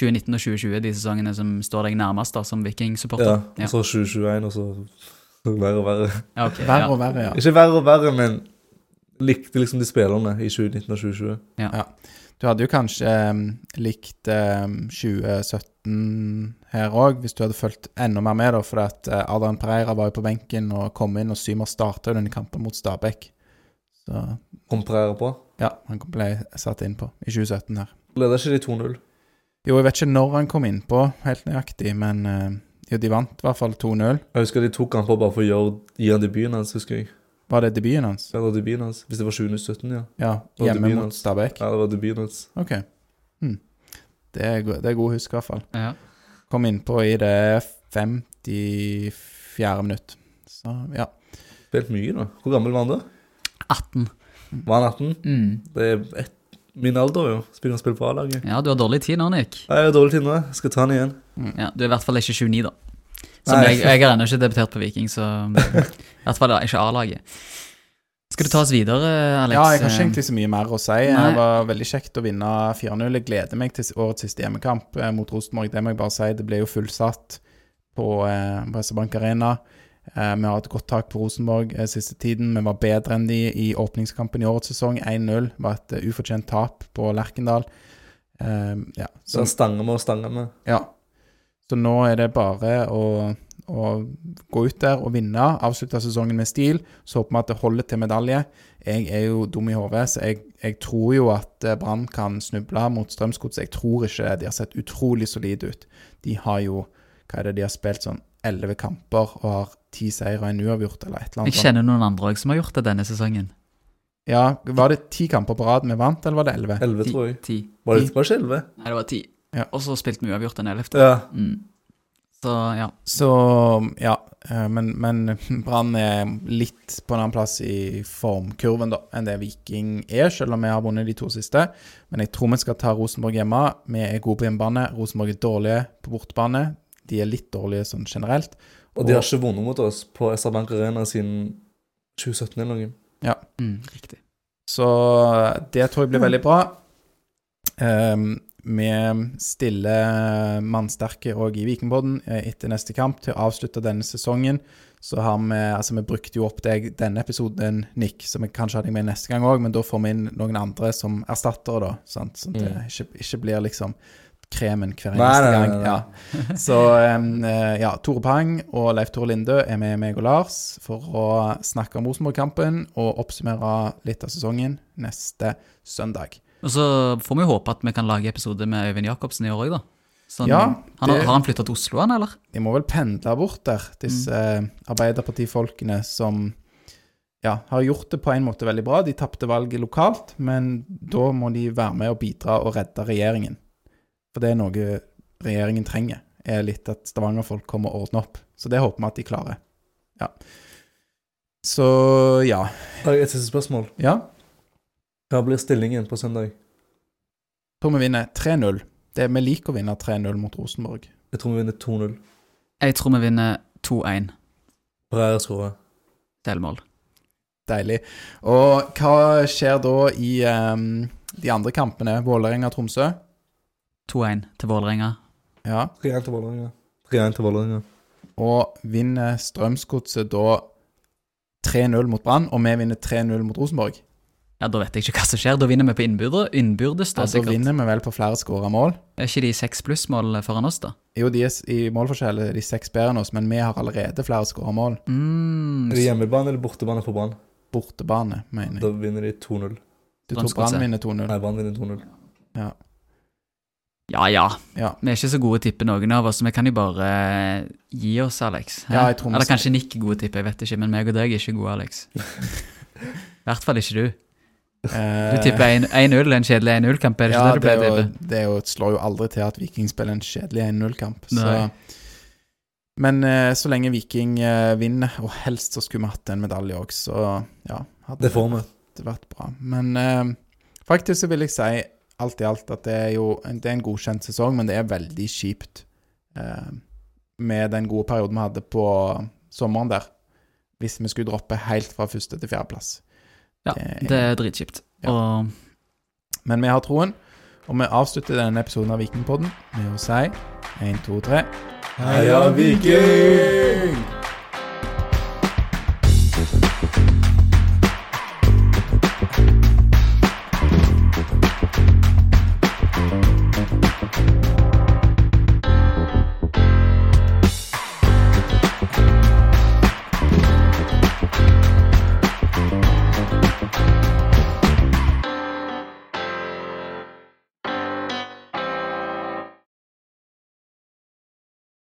Speaker 2: 2019 og 2020 er de sesongene som står deg nærmest da, som
Speaker 3: Ja.
Speaker 2: Viking-supporter?
Speaker 3: Og så 2021, og så verre og verre.
Speaker 2: Ja, ok,
Speaker 1: verre
Speaker 2: ja.
Speaker 1: og verre, ja.
Speaker 3: Ikke verre og verre, men likte liksom de spillerne i 2019 og 2020.
Speaker 1: Du hadde jo kanskje eh, likt eh, 2017 her òg, hvis du hadde fulgt enda mer med, da, for at eh, Adrian Pereira var jo på benken og kom inn, og Symer starta den kampen mot Stabæk. Så
Speaker 3: Kom Pereira på.
Speaker 1: ja, han ble satt inn på i 2017 her.
Speaker 3: Leder ikke de 2-0?
Speaker 1: Jo, jeg vet ikke når han kom innpå, helt nøyaktig, men eh, jo, de vant i hvert fall 2-0.
Speaker 3: Jeg husker de tok han på bare for å gjøre, gi han debuten hans, husker jeg.
Speaker 1: Var det debuten hans?
Speaker 3: Eller debuten hans. Hvis det var 2017, ja.
Speaker 1: Ja,
Speaker 3: var
Speaker 1: hjemme
Speaker 3: debuten
Speaker 1: mot
Speaker 3: hans.
Speaker 1: Stabæk.
Speaker 3: Ja, det var debuten hans.
Speaker 1: Ok. Hm. Det, er go det er god husk, i hvert fall.
Speaker 2: Ja.
Speaker 1: Kom innpå i det 54. minutt. Så ja.
Speaker 3: Spilt mye, da. Hvor gammel var han da?
Speaker 2: 18.
Speaker 3: Var han 18?
Speaker 2: Mm.
Speaker 3: Det er ett, min alder, jo. Spiller han spill på A-laget?
Speaker 2: Ja, du har dårlig tid nå, Nick.
Speaker 3: Nei, Jeg har dårlig tid nå. Jeg skal ta han igjen.
Speaker 1: Mm.
Speaker 2: Ja, du er i hvert fall ikke 29, da. Som
Speaker 3: Nei.
Speaker 2: jeg, jeg har ennå ikke debutert på Viking, så I hvert fall ikke A-laget. Skal du ta oss videre, Alex? eh,
Speaker 1: ja, jeg har ikke egentlig så mye mer å si.
Speaker 2: Nei.
Speaker 1: Det var veldig kjekt å vinne 4-0. Jeg gleder meg til årets siste hjemmekamp eh, mot Rosenborg. Det må jeg bare si. Det ble jo fullsatt på eh, på SR-Bank Arena. Eh, vi har hatt godt tak på Rosenborg eh, siste tiden. Vi var bedre enn de i åpningskampen i årets sesong. 1-0 var et eh, ufortjent tap på Lerkendal. Eh, ja,
Speaker 3: Så
Speaker 1: så,
Speaker 3: han stanger med og stanger med.
Speaker 1: ja. så nå er det bare å, å gå ut der og vinne. Avslutte sesongen med stil. Så håper vi at det holder til medalje. Jeg er jo dum i hodet, så jeg, jeg tror jo at eh, Brann kan snuble mot Strømsgodset. Jeg tror ikke det. De har sett utrolig solide ut. De har jo hva er det, de har spilt sånn elleve kamper og har ti seire og en uavgjort eller et eller
Speaker 2: Jeg
Speaker 1: annet. sånt.
Speaker 2: kjenner noen andre òg som har gjort det denne sesongen.
Speaker 1: Ja, Var det ti kamper på rad vi vant, eller var det elleve?
Speaker 3: 11,
Speaker 2: Ti.
Speaker 3: tror jeg.
Speaker 2: ti.
Speaker 3: Var det var det ikke 11?
Speaker 2: Nei, det var ti.
Speaker 1: Ja.
Speaker 2: Og så spilte vi uavgjort den 11.
Speaker 3: Ja.
Speaker 2: Mm. Så ja.
Speaker 1: Så ja, eh, men, men Brann er litt på en annen plass i formkurven da, enn det Viking er, selv om vi har vunnet de to siste. Men jeg tror vi skal ta Rosenborg hjemme. Vi er gode på hjemmebane. Rosenborg er dårlige på bortebane. De er litt dårlige sånn generelt.
Speaker 3: Og de har ikke vunnet mot oss på SR Bank Arena siden 2017 eller noe.
Speaker 2: Mm, riktig.
Speaker 1: Så eh, det tror jeg blir veldig bra. Ehm, vi stiller mannsterke òg i Vikingpodden eh, etter neste kamp til å avslutte denne sesongen. Så har vi Altså, vi brukte jo opp deg denne episoden, Nick, som jeg kanskje hadde med neste gang òg, men da får vi inn noen andre som erstattere, da. Sant? Så det
Speaker 3: Mm.
Speaker 1: ikke, ikke blir liksom kremen hver eneste
Speaker 3: Nei, nei, nei,
Speaker 1: gang.
Speaker 3: nei.
Speaker 1: Ja. Så em, eh, ja, Tore Pang og Leif Tore Lindø er med meg og Lars for å snakke om Rosenborg-kampen og oppsummere litt av sesongen neste søndag.
Speaker 2: Og så får vi jo håpe at vi kan lage episode med Øyvind Jacobsen i år òg, da. Sånn,
Speaker 1: Ja,
Speaker 2: han, har-
Speaker 1: det-
Speaker 2: Har han flytta til Oslo, han, eller?
Speaker 1: De må vel pendle bort der, disse eh, Arbeiderpartifolkene som ja, har gjort det på en måte veldig bra. De tapte valget lokalt, men da må de være med og bidra og redde regjeringen. For det er noe regjeringen trenger, er litt at Stavanger-folk kommer og ordner opp. Så det håper vi at de klarer. Ja. Så ja.
Speaker 3: Har jeg Et siste spørsmål.
Speaker 1: Ja.
Speaker 3: Hva blir stillingen på søndag?
Speaker 1: tror vi vinner 3-0. Det- Vi liker å vinne 3-0 mot Rosenborg.
Speaker 3: Jeg tror vi vinner 2-0.
Speaker 2: Jeg tror vi vinner 2-1
Speaker 3: Breier skårer.
Speaker 2: delmål.
Speaker 1: Deilig. Og hva skjer da i ehm, de andre kampene? Vålerenga-Tromsø?
Speaker 2: 2-1 til Vålerenga.
Speaker 1: Ja.
Speaker 3: 3-1 til Vålerenga. 3-1 til Vålerenga.
Speaker 1: Og vinner Strømsgodset da 3-0 mot Brann, og vi vinner 3-0 mot Rosenborg?
Speaker 2: Ja, Da vet jeg ikke hva som skjer. Da vinner vi på innbyrde. innbyrdes. da,
Speaker 1: Altså, Da
Speaker 2: sikkert.
Speaker 1: vinner vi vel på flere skåra mål.
Speaker 2: Er ikke de seks plussmål foran oss, da?
Speaker 1: Jo, de er s- i målforskjell er de seks bedre enn oss, men vi har allerede flere skåra mål.
Speaker 2: Mm,
Speaker 3: Er det hjemmebane eller bortebane for Brann?
Speaker 1: Bortebane, mener jeg.
Speaker 3: Da vinner de 2-0.
Speaker 1: Du tror Brann vinner 2-0.
Speaker 3: Nei, Brann vinner 2-0.
Speaker 2: ja ja.
Speaker 1: Ja.
Speaker 2: Vi er ikke så gode til å tippe, noen av oss. så Vi kan jo bare eh, gi oss, Alex. hæ?
Speaker 1: Ja, jeg tror vi
Speaker 2: Eller
Speaker 1: skal-
Speaker 2: kanskje Nick er god til å tippe, jeg vet ikke. Men meg og deg er ikke gode, Alex. I hvert fall ikke du. Du tipper 1-0, en kjedelig 1-0-kamp. Er det ikke
Speaker 1: Eh. ja, det,
Speaker 2: det du
Speaker 1: er
Speaker 2: pleier å
Speaker 1: jo,
Speaker 2: tippe?
Speaker 1: det er jo, slår jo aldri til at Viking spiller en kjedelig 1-0-kamp. Så.
Speaker 2: Nei.
Speaker 1: Men eh, så lenge Viking eh, vinner, og helst så skulle vi hatt en medalje òg, så ja hadde
Speaker 3: Det får vi.
Speaker 1: det vært bra. Men eh, faktisk så vil jeg si alt i alt at det er jo det er en godkjent sesong, men det er veldig kjipt eh, med den gode perioden vi hadde på sommeren der, hvis vi skulle droppe helt fra første til fjerdeplass.
Speaker 2: Ja,
Speaker 1: det er-
Speaker 2: det er dritkjipt.
Speaker 1: Ja.
Speaker 2: Og
Speaker 1: Men vi har troen, og vi avslutter denne episoden av Vikingpodden med å si 1, 2, 3
Speaker 3: Heia Viking!